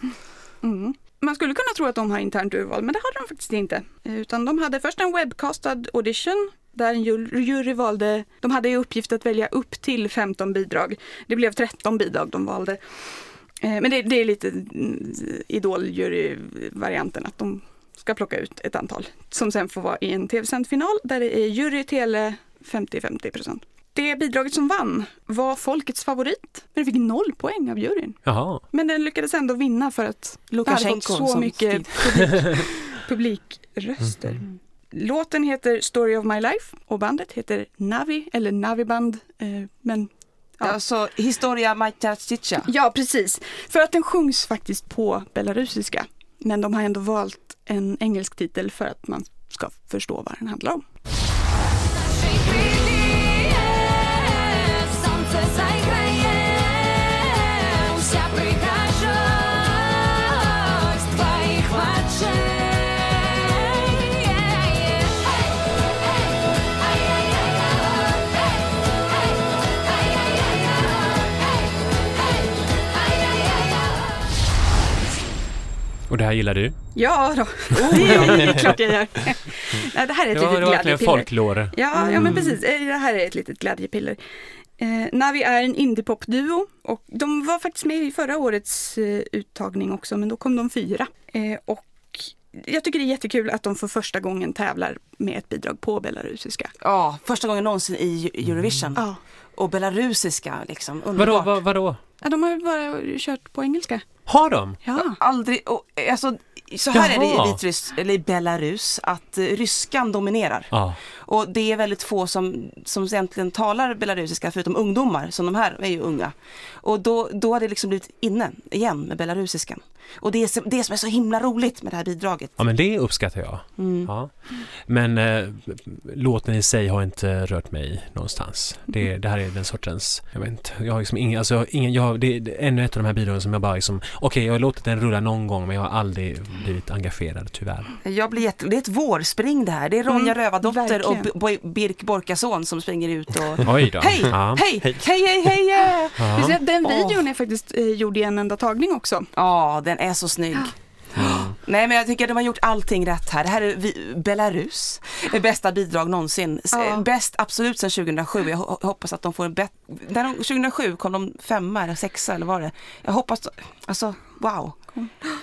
Speaker 3: Mm. Man skulle kunna tro att de har internt urval, men det hade de faktiskt inte. Eh, Utan de hade först en webcastad audition där en ju- jury valde, de hade i uppgift att välja upp till 15 bidrag. Det blev 13 bidrag de valde. Eh, Men det, det är lite mm, idoljury-varianten, att de ska plocka ut ett antal som sen får vara i en tv-sänd final där det är jury, tele, 50-50 procent. Det bidraget som vann var folkets favorit, men det fick noll poäng av juryn.
Speaker 2: Jaha.
Speaker 3: Men den lyckades ändå vinna för att det hade fått
Speaker 4: Lukasjenko
Speaker 3: så
Speaker 4: som
Speaker 3: mycket publik, publikröster.
Speaker 2: Mm.
Speaker 3: Låten heter Story of My Life och bandet heter Navi, eller Naviband. Eh, men, Ja.
Speaker 4: Alltså Historia Majtacica.
Speaker 3: ja, precis. För att den sjungs faktiskt på belarusiska. Men de har ändå valt en engelsk titel för att man ska förstå vad den handlar om.
Speaker 5: Naszej chwili słońce zajgraje, wся przykażość twoich maczek.
Speaker 2: Och det här gillar du?
Speaker 3: Ja då, Oh. det är klart jag gör. Nej, det här är ett
Speaker 2: det var det
Speaker 3: litet
Speaker 2: var verkligen
Speaker 3: glädjepiller.
Speaker 2: folklore.
Speaker 3: Ja, ja men precis. Eh, Det här är ett litet glädjepiller. Eh, Navi är en indiepopduo och de var faktiskt med i förra årets eh, uttagning också, men då kom de fyra. Eh, och jag tycker det är jättekul att de för första gången tävlar med ett bidrag på belarusiska.
Speaker 4: Ja, första gången någonsin i Eurovision.
Speaker 3: Ja.
Speaker 4: Och belarusiska liksom,
Speaker 2: Vadå,
Speaker 4: underbart.
Speaker 2: va- vadå?
Speaker 3: Ja, de har ju bara kört på engelska.
Speaker 2: Har de?
Speaker 3: Ja.
Speaker 4: Aldrig, och, eh, alltså, så här är det
Speaker 2: Jaha.
Speaker 4: i Vitryss, eller i Belarus, att eh, ryskan dominerar.
Speaker 2: Ja.
Speaker 4: Och det är väldigt få som, som egentligen talar belarusiska, förutom ungdomar, som de här är ju unga. Och då, då har det liksom blivit inne igen med belarusiskan. Och det är som- det som är så himla roligt med det här bidraget.
Speaker 2: Ja men det uppskattar jag. Ja. Men eh, låten i sig har inte rört mig någonstans. Det, det här är den sortens, jag vet inte, jag har liksom ingen, alltså jag har ingen, jag har, det är ännu ett av de här bidragen som jag bara liksom, okej jag har låtit den rulla någon gång men jag har aldrig blivit engagerad tyvärr.
Speaker 4: Jag blir jätte, det är ett vårspring det här. Det är Ronja
Speaker 3: Mm,
Speaker 4: Rövardotter och
Speaker 3: verkligen.
Speaker 4: Bo- Birk Borkason som springer ut och
Speaker 2: Oj då.
Speaker 4: Hej!
Speaker 2: Ja.
Speaker 4: Hej! Hej, hej, hej! eh!
Speaker 3: Vi ser
Speaker 2: Ja.
Speaker 3: att Den
Speaker 4: Åh.
Speaker 3: videon är faktiskt eh, gjord i en enda tagning också.
Speaker 4: Ja, den är så snygg. Nej men jag tycker de har gjort allting rätt här. Det här är vi, Belarus, Det bästa bidrag någonsin. S- eh,
Speaker 3: Ja.
Speaker 4: Bäst absolut sedan 2007. Jag ho- hoppas att de får en bättre... 2007 kom de femma eller sexa eller vad det Jag hoppas... Alltså, wow.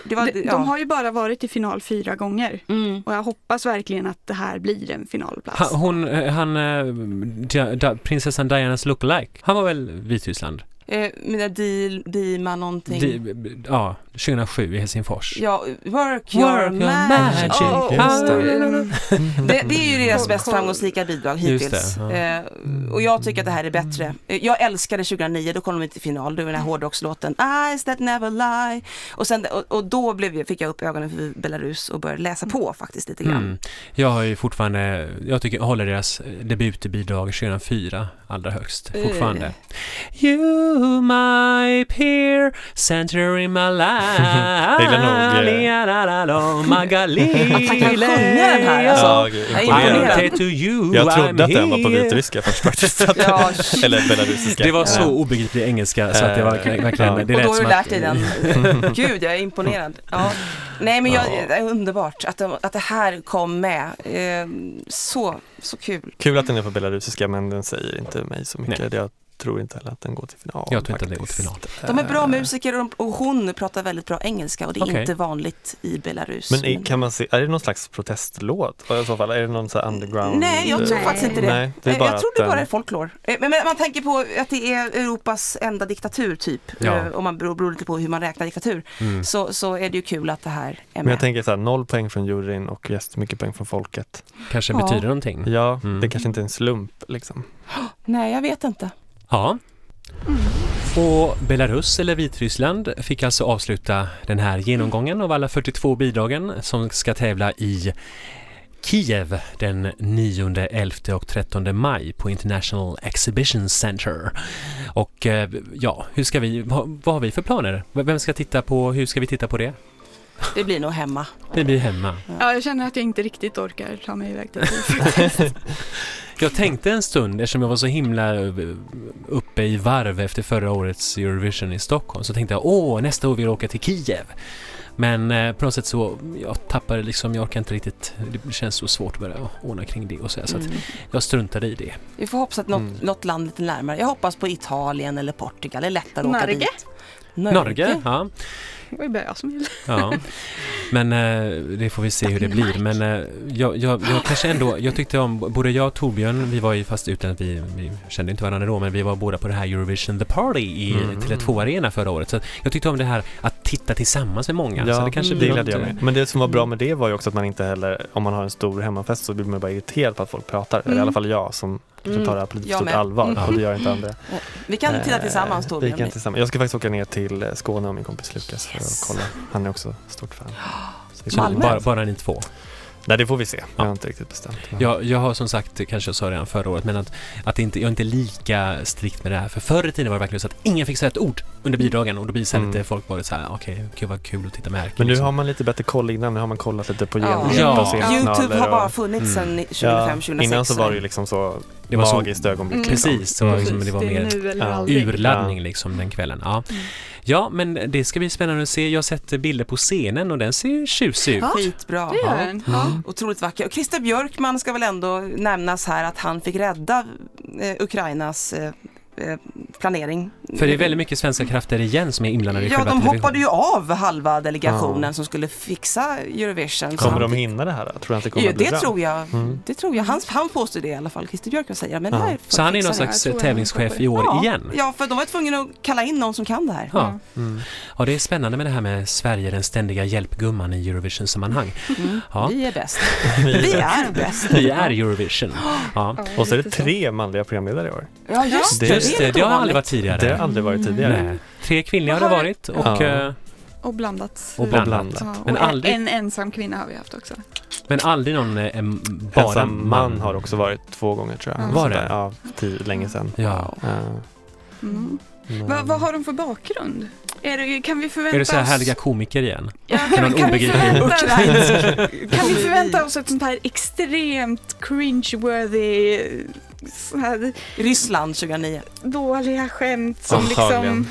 Speaker 4: Det var,
Speaker 3: De,
Speaker 4: ja. Mm.
Speaker 3: de har ju bara varit i final fyra gånger och jag hoppas verkligen att det här blir en finalplats.
Speaker 2: Ha- Hon, eh, han, eh, Di- Di- prinsessan Dianas lookalike, han var väl Vitryssland?
Speaker 4: eh, mina di, Dima någonting.
Speaker 2: Di, ja, 2007 i Helsingfors.
Speaker 4: Ja, work your, magic. Oh,
Speaker 2: magic.
Speaker 4: Åh,
Speaker 2: Ah.
Speaker 4: Det, det är ju deras mest framgångsrika bidrag
Speaker 2: Just
Speaker 4: hittills.
Speaker 2: det, ja.
Speaker 4: eh, och jag tycker att det här är bättre. Eh, Jag älskade 2009, då kom de inte till final, då var den här hårdrockslåten Eyes that never lie. Och, sen, och, och då blev, jag- fick jag upp ögonen för Belarus och började läsa på faktiskt lite grann.
Speaker 2: Mm. Jag har ju eh, fortfarande, jag tycker, jag håller deras debutbidrag 2004 allra högst fortfarande. You my peer, center in my life.
Speaker 1: Jag gillar nog, eh,
Speaker 2: La, la, la, la, Magalile.
Speaker 4: Att han kan sjunga den här alltså.
Speaker 1: Ja, gud,
Speaker 4: Jag är
Speaker 1: imponerande.
Speaker 4: imponerad.
Speaker 2: I'm to you,
Speaker 1: Jag trodde
Speaker 2: I'm
Speaker 1: att den var på
Speaker 2: here.
Speaker 1: vitryska först faktiskt. Att-
Speaker 4: Ja,
Speaker 1: Eller belarusiska.
Speaker 2: Det var så obegriplig engelska så att det var verkligen, verkligen
Speaker 1: Ja.
Speaker 2: det
Speaker 4: och
Speaker 2: lät
Speaker 4: då har du
Speaker 2: som
Speaker 4: lärt
Speaker 2: att-
Speaker 4: dig den. Gud, jag är imponerad. Ja. Nej, men jag, det är underbart att, de, att det här kom med. Ehm, så, så kul.
Speaker 1: Kul att den är på belarusiska men den säger inte mig så mycket. Jag tror inte heller att den går till final.
Speaker 2: Jag tror inte att den går till final.
Speaker 1: faktiskt.
Speaker 4: De är bra musiker och, de, och hon pratar väldigt bra engelska och det är
Speaker 2: Okej.
Speaker 4: inte vanligt i Belarus.
Speaker 1: Men är, kan man se, är det någon slags protestlåt? Och I så fall, är det någon så här underground?
Speaker 4: Nej, jag tror
Speaker 1: eh,
Speaker 4: faktiskt inte det.
Speaker 1: Nej, det är bara
Speaker 4: jag tror det
Speaker 1: att,
Speaker 4: bara
Speaker 1: eh,
Speaker 4: är folklor. Eh, Men, men man tänker på att det är Europas enda diktatur typ.
Speaker 2: Ja.
Speaker 4: Eh, Om man beror, beror lite på hur man räknar diktatur. Så, så är det ju kul att det här är
Speaker 1: Mm. Men
Speaker 4: med.
Speaker 1: jag tänker så här, noll poäng från juryn och jättemycket poäng från folket.
Speaker 2: Kanske
Speaker 4: Ja.
Speaker 2: betyder någonting.
Speaker 1: Ja,
Speaker 2: Mm.
Speaker 1: det kanske inte är en slump liksom.
Speaker 4: Nej, jag vet inte.
Speaker 2: Ja. Och Belarus eller Vitryssland fick alltså avsluta den här genomgången av alla 42 bidragen som ska tävla i Kiev den 9, 11 och 13 maj på International Exhibition Center. Och eh, ja, hur ska vi, vad, vad har vi för planer? V- Vem ska titta på, hur ska vi titta på det?
Speaker 4: Det blir nog hemma.
Speaker 2: Det blir hemma.
Speaker 3: Ja, jag känner att jag inte riktigt orkar ta mig iväg till
Speaker 2: Jag tänkte en stund, eftersom jag var så himla eh, uppe i varv efter förra årets Eurovision i Stockholm, så tänkte jag åh, nästa år vill jag åka till Kiev. Men eh, på något sätt så, jag tappade liksom, jag orkar inte riktigt, det känns så svårt att börja ordna kring det och så, här, så att
Speaker 4: Mm.
Speaker 2: jag struntade i det.
Speaker 4: Vi får hoppas att något,
Speaker 1: Mm.
Speaker 4: något land lite närmare. Jag hoppas på Italien eller Portugal. Det är lättare att åka
Speaker 3: Norge.
Speaker 4: dit.
Speaker 2: Norge, ja.
Speaker 3: Det var ju bara jag som ville.
Speaker 2: ja. Men eh, det får vi se hur det blir. Men eh, jag, jag, jag kanske ändå, jag tyckte om, både jag och Torbjörn, vi var ju fast utan att vi, vi kände inte varandra då, men vi var båda på det här Eurovision The Party i
Speaker 1: Mm.
Speaker 2: Tele2 Arena förra året. Så jag tyckte om det här att titta tillsammans med många. så det kanske
Speaker 1: det
Speaker 2: blir
Speaker 1: gillade
Speaker 2: något,
Speaker 1: jag
Speaker 2: eh,
Speaker 1: med. Men det som var bra med det var ju också att man inte heller, om man har en stor hemmafest så blir man bara irriterad på att folk pratar. Eller i alla fall jag som kanske tar det här på lite
Speaker 4: Mm. Jag
Speaker 1: stort
Speaker 4: med.
Speaker 1: allvar
Speaker 2: Mm.
Speaker 1: och det gör inte andra.
Speaker 4: Vi kan titta
Speaker 1: Eh,
Speaker 4: tillsammans
Speaker 1: vi kan
Speaker 4: Torbjörn.
Speaker 1: tillsammans. Jag ska faktiskt åka ner till eh, Skåne och min kompis Lukas
Speaker 4: Yes.
Speaker 1: för att kolla. Han är också stort fan. Så vi får-
Speaker 4: Malmö?
Speaker 2: Bara, bara ni två.
Speaker 1: Nej, det får vi se.
Speaker 2: Ja.
Speaker 1: Jag har inte riktigt bestämt. mig.
Speaker 2: Jag, jag har som sagt, kanske jag sa redan förra året, men att, att det inte, jag är inte lika strikt med det här. För förr i tiden var det verkligen så att ingen fick säga ett ord under bidragen och då blir så här
Speaker 1: Mm.
Speaker 2: lite folk bara så här, "Ah, okej, gud vad kul att titta med Erkin",
Speaker 1: Men nu
Speaker 2: liksom.
Speaker 1: har man lite bättre koll innan. Nu har man kollat lite på
Speaker 4: Ja.
Speaker 1: genrep
Speaker 2: Ja.
Speaker 1: och scenkanaler.
Speaker 4: Youtube har
Speaker 1: och-
Speaker 4: bara funnits
Speaker 2: Mm.
Speaker 4: sedan 2005,
Speaker 1: Ja,
Speaker 4: 2006.
Speaker 1: Innan så var det ju liksom så
Speaker 2: Det var så-
Speaker 1: magiskt ögonblick.
Speaker 3: Mm.
Speaker 1: Liksom.
Speaker 2: Precis, det var,
Speaker 1: Precis,
Speaker 2: liksom, det var
Speaker 3: är
Speaker 2: mer
Speaker 3: nu eller
Speaker 1: ja.
Speaker 3: aldrig.
Speaker 2: urladdning
Speaker 1: Ja.
Speaker 2: liksom den kvällen. Ja. ja, men det ska bli spännande att se. Jag har sett bilder på scenen och den ser ju tjusig ut.
Speaker 3: Ja.
Speaker 4: Skitbra.
Speaker 3: Det gör den. Ja.
Speaker 4: Otroligt vacker. Och Christer Björkman ska väl ändå nämnas här att han fick rädda eh, Ukrainas eh, eh, planering.
Speaker 2: För det är väldigt mycket svenska krafter igen som är inblandade i
Speaker 4: Ja,
Speaker 2: själva
Speaker 4: de
Speaker 2: televisionen.
Speaker 4: hoppade ju av halva delegationen
Speaker 1: Ja.
Speaker 4: som skulle fixa Eurovision. så
Speaker 1: Kommer
Speaker 4: han
Speaker 1: de hinna det här? då? Tror du att det kommer
Speaker 4: Ja,
Speaker 1: att bli
Speaker 4: det
Speaker 1: bra?
Speaker 4: tror jag.
Speaker 1: Mm.
Speaker 4: Det tror jag. Han, han påstår det i alla fall. Christer Björkman säger men
Speaker 1: Ja.
Speaker 4: här
Speaker 2: Så han är någon
Speaker 4: fixar vi.
Speaker 2: slags
Speaker 3: Jag tror jag
Speaker 2: tävlingschef
Speaker 3: hoppar
Speaker 2: i år
Speaker 4: ja.
Speaker 2: igen.
Speaker 4: Ja, Mm. för de var tvungna att kalla in någon som kan det här.
Speaker 2: Ja. Mm. ja, det är spännande med det här med Sverige, den ständiga hjälpgumman i Eurovision-sammanhang. Ja.
Speaker 4: Mm. Vi är bäst. Vi är bäst.
Speaker 2: Vi är Eurovision. Ja.
Speaker 1: Och så är det tre manliga programledare i år.
Speaker 4: Ja, just det.
Speaker 1: Det-
Speaker 2: Just
Speaker 4: är
Speaker 2: det,
Speaker 4: lite
Speaker 2: det har aldrig
Speaker 4: ovanligt.
Speaker 2: varit tidigare.
Speaker 1: Det har aldrig varit tidigare.
Speaker 2: Nej. Tre kvinnliga har det varit och,
Speaker 1: Ja.
Speaker 2: eh,
Speaker 3: Och blandats.
Speaker 2: och
Speaker 1: blandat.
Speaker 2: blandat.
Speaker 3: Ja, och
Speaker 2: Men aldrig-
Speaker 3: en ensam kvinna har vi haft också.
Speaker 2: Men aldrig någon eh, em- bara
Speaker 1: Ensam man har också varit två gånger tror jag.
Speaker 3: Mm.
Speaker 2: Var det?
Speaker 1: Sådär, Ja, tio, länge sedan.
Speaker 2: Ja.
Speaker 1: Eh,
Speaker 3: Mm.
Speaker 1: men-
Speaker 3: Vad- vad har de för bakgrund? Är det, kan vi förvänta
Speaker 2: Är det så här
Speaker 3: oss...
Speaker 2: härliga komiker igen?
Speaker 3: Ja,
Speaker 2: Är
Speaker 3: kan,
Speaker 2: någon
Speaker 3: kan, vi
Speaker 2: obegriplig
Speaker 3: förvänta, kan vi
Speaker 4: komedi?
Speaker 3: förvänta oss ett sånt här extremt cringe-worthy, så här
Speaker 4: Ryssland 2009.
Speaker 3: dåliga skämt som
Speaker 1: Antagligen.
Speaker 3: liksom,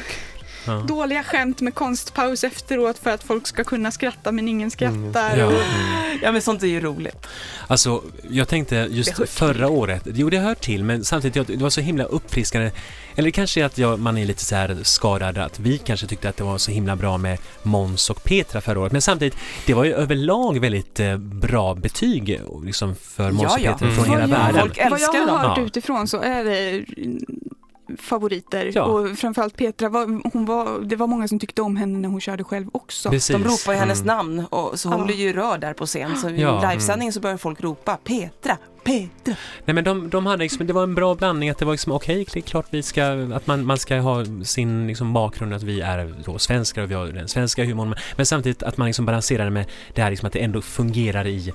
Speaker 2: Ja.
Speaker 3: dåliga skämt med konstpaus efteråt för att folk ska kunna skratta men ingen skrattar.
Speaker 2: Ja.
Speaker 3: Och,
Speaker 4: Ja, men sånt är ju roligt.
Speaker 2: Alltså, jag tänkte
Speaker 3: Det
Speaker 2: just
Speaker 3: hör till.
Speaker 2: förra året, jo det hör till, men samtidigt, jag, det var så himla uppfriskande. Eller det kanske är att jag, man är lite så här skadad, att vi kanske tyckte att det var så himla bra med Måns och Petra förra året. Men samtidigt, det var ju överlag väldigt eh, bra betyg och liksom, för Måns
Speaker 4: Ja,
Speaker 2: och
Speaker 4: ja.
Speaker 2: Petra från
Speaker 1: Mm.
Speaker 2: hela
Speaker 3: vad, jag,
Speaker 2: världen.
Speaker 4: Folk
Speaker 3: vad jag
Speaker 4: älskar
Speaker 3: har
Speaker 4: dem.
Speaker 3: hört
Speaker 2: Ja.
Speaker 3: utifrån så är det mm, favoriter
Speaker 2: Ja.
Speaker 3: och framförallt Petra, var, hon var, det var många som tyckte om henne när hon körde själv också.
Speaker 2: Precis.
Speaker 4: De ropar ju hennes
Speaker 1: Mm.
Speaker 4: namn, och, så hon
Speaker 3: Ja.
Speaker 4: blir ju rörd där på scen. Så i
Speaker 2: Ja.
Speaker 4: livesändningen så börjar folk ropa Petra, Petra.
Speaker 2: Nej men de, de hade liksom, det var en bra blandning att det var liksom okej, det är klart vi ska, att man, man ska ha sin liksom bakgrund att vi är då svenskar och vi har den svenska humorn men samtidigt att man liksom balanserar det med det här liksom att det ändå fungerar i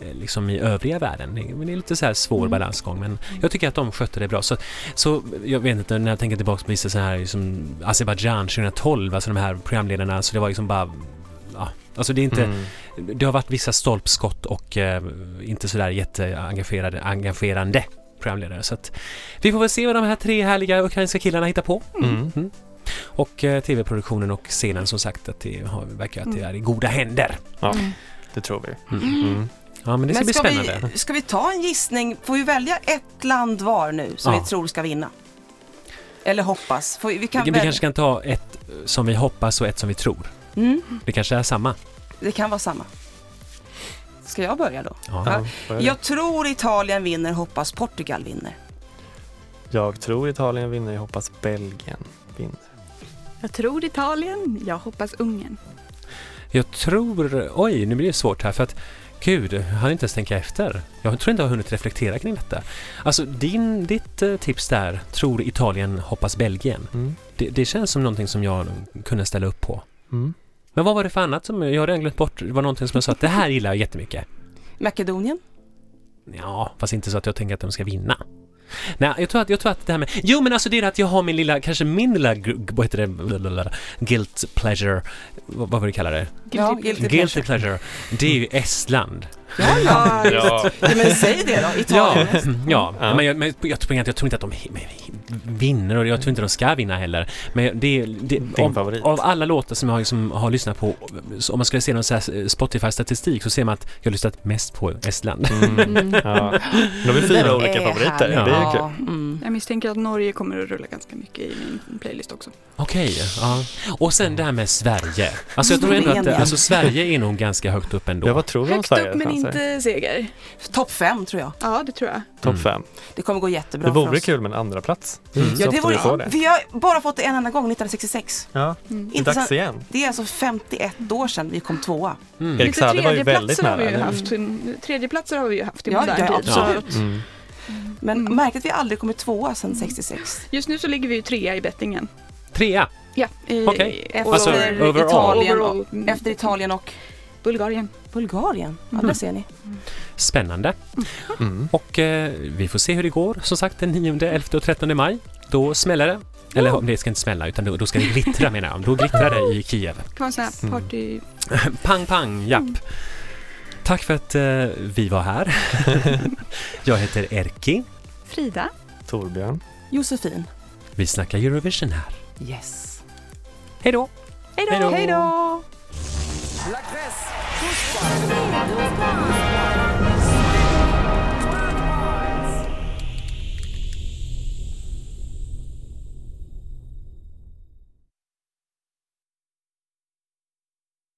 Speaker 2: eh, liksom i övriga världen. Det- Men det är lite så här svår balansgång. Men jag tycker att de skötte det bra. Så, så jag vet inte, när jag tänker tillbaka på vissa så här som Azerbaijan 2012, alltså de här programledarna, så det var liksom bara Ja, alltså det är inte,
Speaker 1: Mm.
Speaker 2: det har varit vissa stolpskott och eh, inte sådär jätteengagerade engagerande programledare. Så att vi får väl se vad de här tre härliga ukrainska killarna hittar på.
Speaker 1: Mm.
Speaker 2: Och eh, tv-produktionen och scenen som sagt att det har, verkar att det
Speaker 4: Mm.
Speaker 2: är i goda händer.
Speaker 1: Ja, det tror vi.
Speaker 2: Mm.
Speaker 1: Mm.
Speaker 2: Ja, men det ska
Speaker 4: Men
Speaker 2: bli
Speaker 4: ska
Speaker 2: spännande.
Speaker 4: vi, ska vi ta en gissning? Får vi välja ett land var nu som
Speaker 2: Ja.
Speaker 4: vi tror ska vinna? Eller hoppas? Får vi, vi kan
Speaker 2: Vi, vi
Speaker 4: väl-
Speaker 2: kanske kan ta ett eh, som vi hoppas och ett som vi tror.
Speaker 4: Mm,
Speaker 2: Det kanske är samma.
Speaker 4: det kan vara samma. Ska jag börja då?
Speaker 2: Ja.
Speaker 4: Ja.
Speaker 1: vad är det?
Speaker 4: Jag tror Italien vinner, hoppas Portugal vinner.
Speaker 1: Jag tror Italien vinner, jag hoppas Belgien vinner.
Speaker 3: Jag tror Italien, jag hoppas Ungern.
Speaker 2: Jag tror... Oj, nu blir det svårt här för att Gud, jag hann inte ens tänka efter. Jag tror inte jag har hunnit reflektera kring detta. Alltså, din, ditt eh, tips där, tror Italien, hoppas Belgien.
Speaker 1: Mm.
Speaker 2: Det, det känns som någonting som jag kunde ställa upp på.
Speaker 1: Mm.
Speaker 2: Men vad var det för annat som... Jag har redan glömt bort. Det var någonting som jag sa att det här gillar jag jättemycket.
Speaker 4: Makedonien?
Speaker 2: Ja, fast inte så att jag tänker att de ska vinna. Nej, jag tror att, jag tror att det här med... Jo, men alltså det är att jag har min lilla, kanske min lilla, gr- vad heter det, Blablabla. guilt pleasure, vad, vad vill du kalla det?
Speaker 4: ja,
Speaker 3: Guilty
Speaker 4: guilty
Speaker 2: Guilty
Speaker 4: pleasure.
Speaker 2: pleasure. Det är ju Estland.
Speaker 4: Ja, ja.
Speaker 1: Ja.
Speaker 4: ja, men säg det då.
Speaker 2: Ja,
Speaker 4: Italien.
Speaker 2: ja.
Speaker 1: Ja.
Speaker 2: men, jag, men jag, tror inte, jag tror inte att de hi- men, vinner och jag tror inte de ska vinna heller. Men jag- det, är- det,
Speaker 1: Din
Speaker 2: av,
Speaker 1: favorit.
Speaker 2: av alla låtar som jag liksom har lyssnat på, så om man skulle se någon så här eh, Spotify-statistik så ser man att jag har lyssnat mest på Estland.
Speaker 1: Mm. Ja. Då har vi fyra
Speaker 4: Mm.
Speaker 1: olika favoriter.
Speaker 2: härligt.
Speaker 1: Det är kul.
Speaker 4: Ja, mm.
Speaker 3: Jag misstänker att Norge kommer att rulla ganska mycket i min playlist också.
Speaker 2: Okej, ja. Och sen det här med Sverige. Alltså jag tror ändå att
Speaker 4: Slovenien.
Speaker 2: alltså, Sverige är nog ganska högt upp ändå.
Speaker 1: Ja, vad tror vi om
Speaker 3: Högt
Speaker 1: Sverige?
Speaker 3: upp men
Speaker 1: Fransar?
Speaker 3: inte seger.
Speaker 4: Topp fem tror jag.
Speaker 3: Ja, det tror jag.
Speaker 1: Topp fem. Mm.
Speaker 4: Det kommer gå jättebra
Speaker 1: Det
Speaker 4: för
Speaker 1: vore
Speaker 4: oss.
Speaker 1: kul med en andra plats. Så
Speaker 4: Ja, det
Speaker 1: ofta vi får
Speaker 4: vore,
Speaker 1: det.
Speaker 4: vi har bara fått det en enda gång, 1966.
Speaker 1: Ja,
Speaker 3: Mm.
Speaker 1: det är
Speaker 4: Inte
Speaker 1: dags
Speaker 4: så-
Speaker 1: igen.
Speaker 4: Det är alltså 51 år sedan vi kom tvåa.
Speaker 2: Mm.
Speaker 1: Erik Saade var ju väldigt
Speaker 3: tredjeplatser har,
Speaker 1: nära.
Speaker 3: vi ju
Speaker 1: nu.
Speaker 3: haft. tredjeplatser har vi ju haft i
Speaker 4: Ja,
Speaker 3: modern
Speaker 4: ja,
Speaker 3: tid. så
Speaker 4: absolut.
Speaker 3: att
Speaker 1: Mm.
Speaker 4: Men
Speaker 3: Mm.
Speaker 4: märk att vi aldrig kommit tvåa sedan 66.
Speaker 3: Just nu så ligger vi ju trea i bettingen.
Speaker 2: Trea.
Speaker 3: Ja, i,
Speaker 2: Okej.
Speaker 4: Efter
Speaker 2: Alltså, overall.
Speaker 4: Italien och,
Speaker 3: Overall. Mm.
Speaker 4: efter Italien och
Speaker 3: Bulgarien.
Speaker 4: Bulgarien. Ja,
Speaker 3: Mm.
Speaker 4: där ser ni.
Speaker 2: Spännande.
Speaker 1: Mm.
Speaker 2: Och eh, vi får se hur det går, som sagt den 9, 11 och 13 maj. Då smäller det. Eller det ska inte smälla, utan då, då ska det glittra menar jag. Då glittrar det i Kiev.
Speaker 3: Det kan vara en sån
Speaker 2: Mm.
Speaker 3: här party...
Speaker 2: Pang, pang, japp. Tack för att eh, vi var här. jag heter Erki.
Speaker 3: Frida.
Speaker 1: Torbjörn.
Speaker 4: Josefin.
Speaker 2: Vi snackar Eurovision här.
Speaker 4: Yes.
Speaker 2: Hej då!
Speaker 3: Hej då!
Speaker 4: Hej då!
Speaker 5: Goosebumps.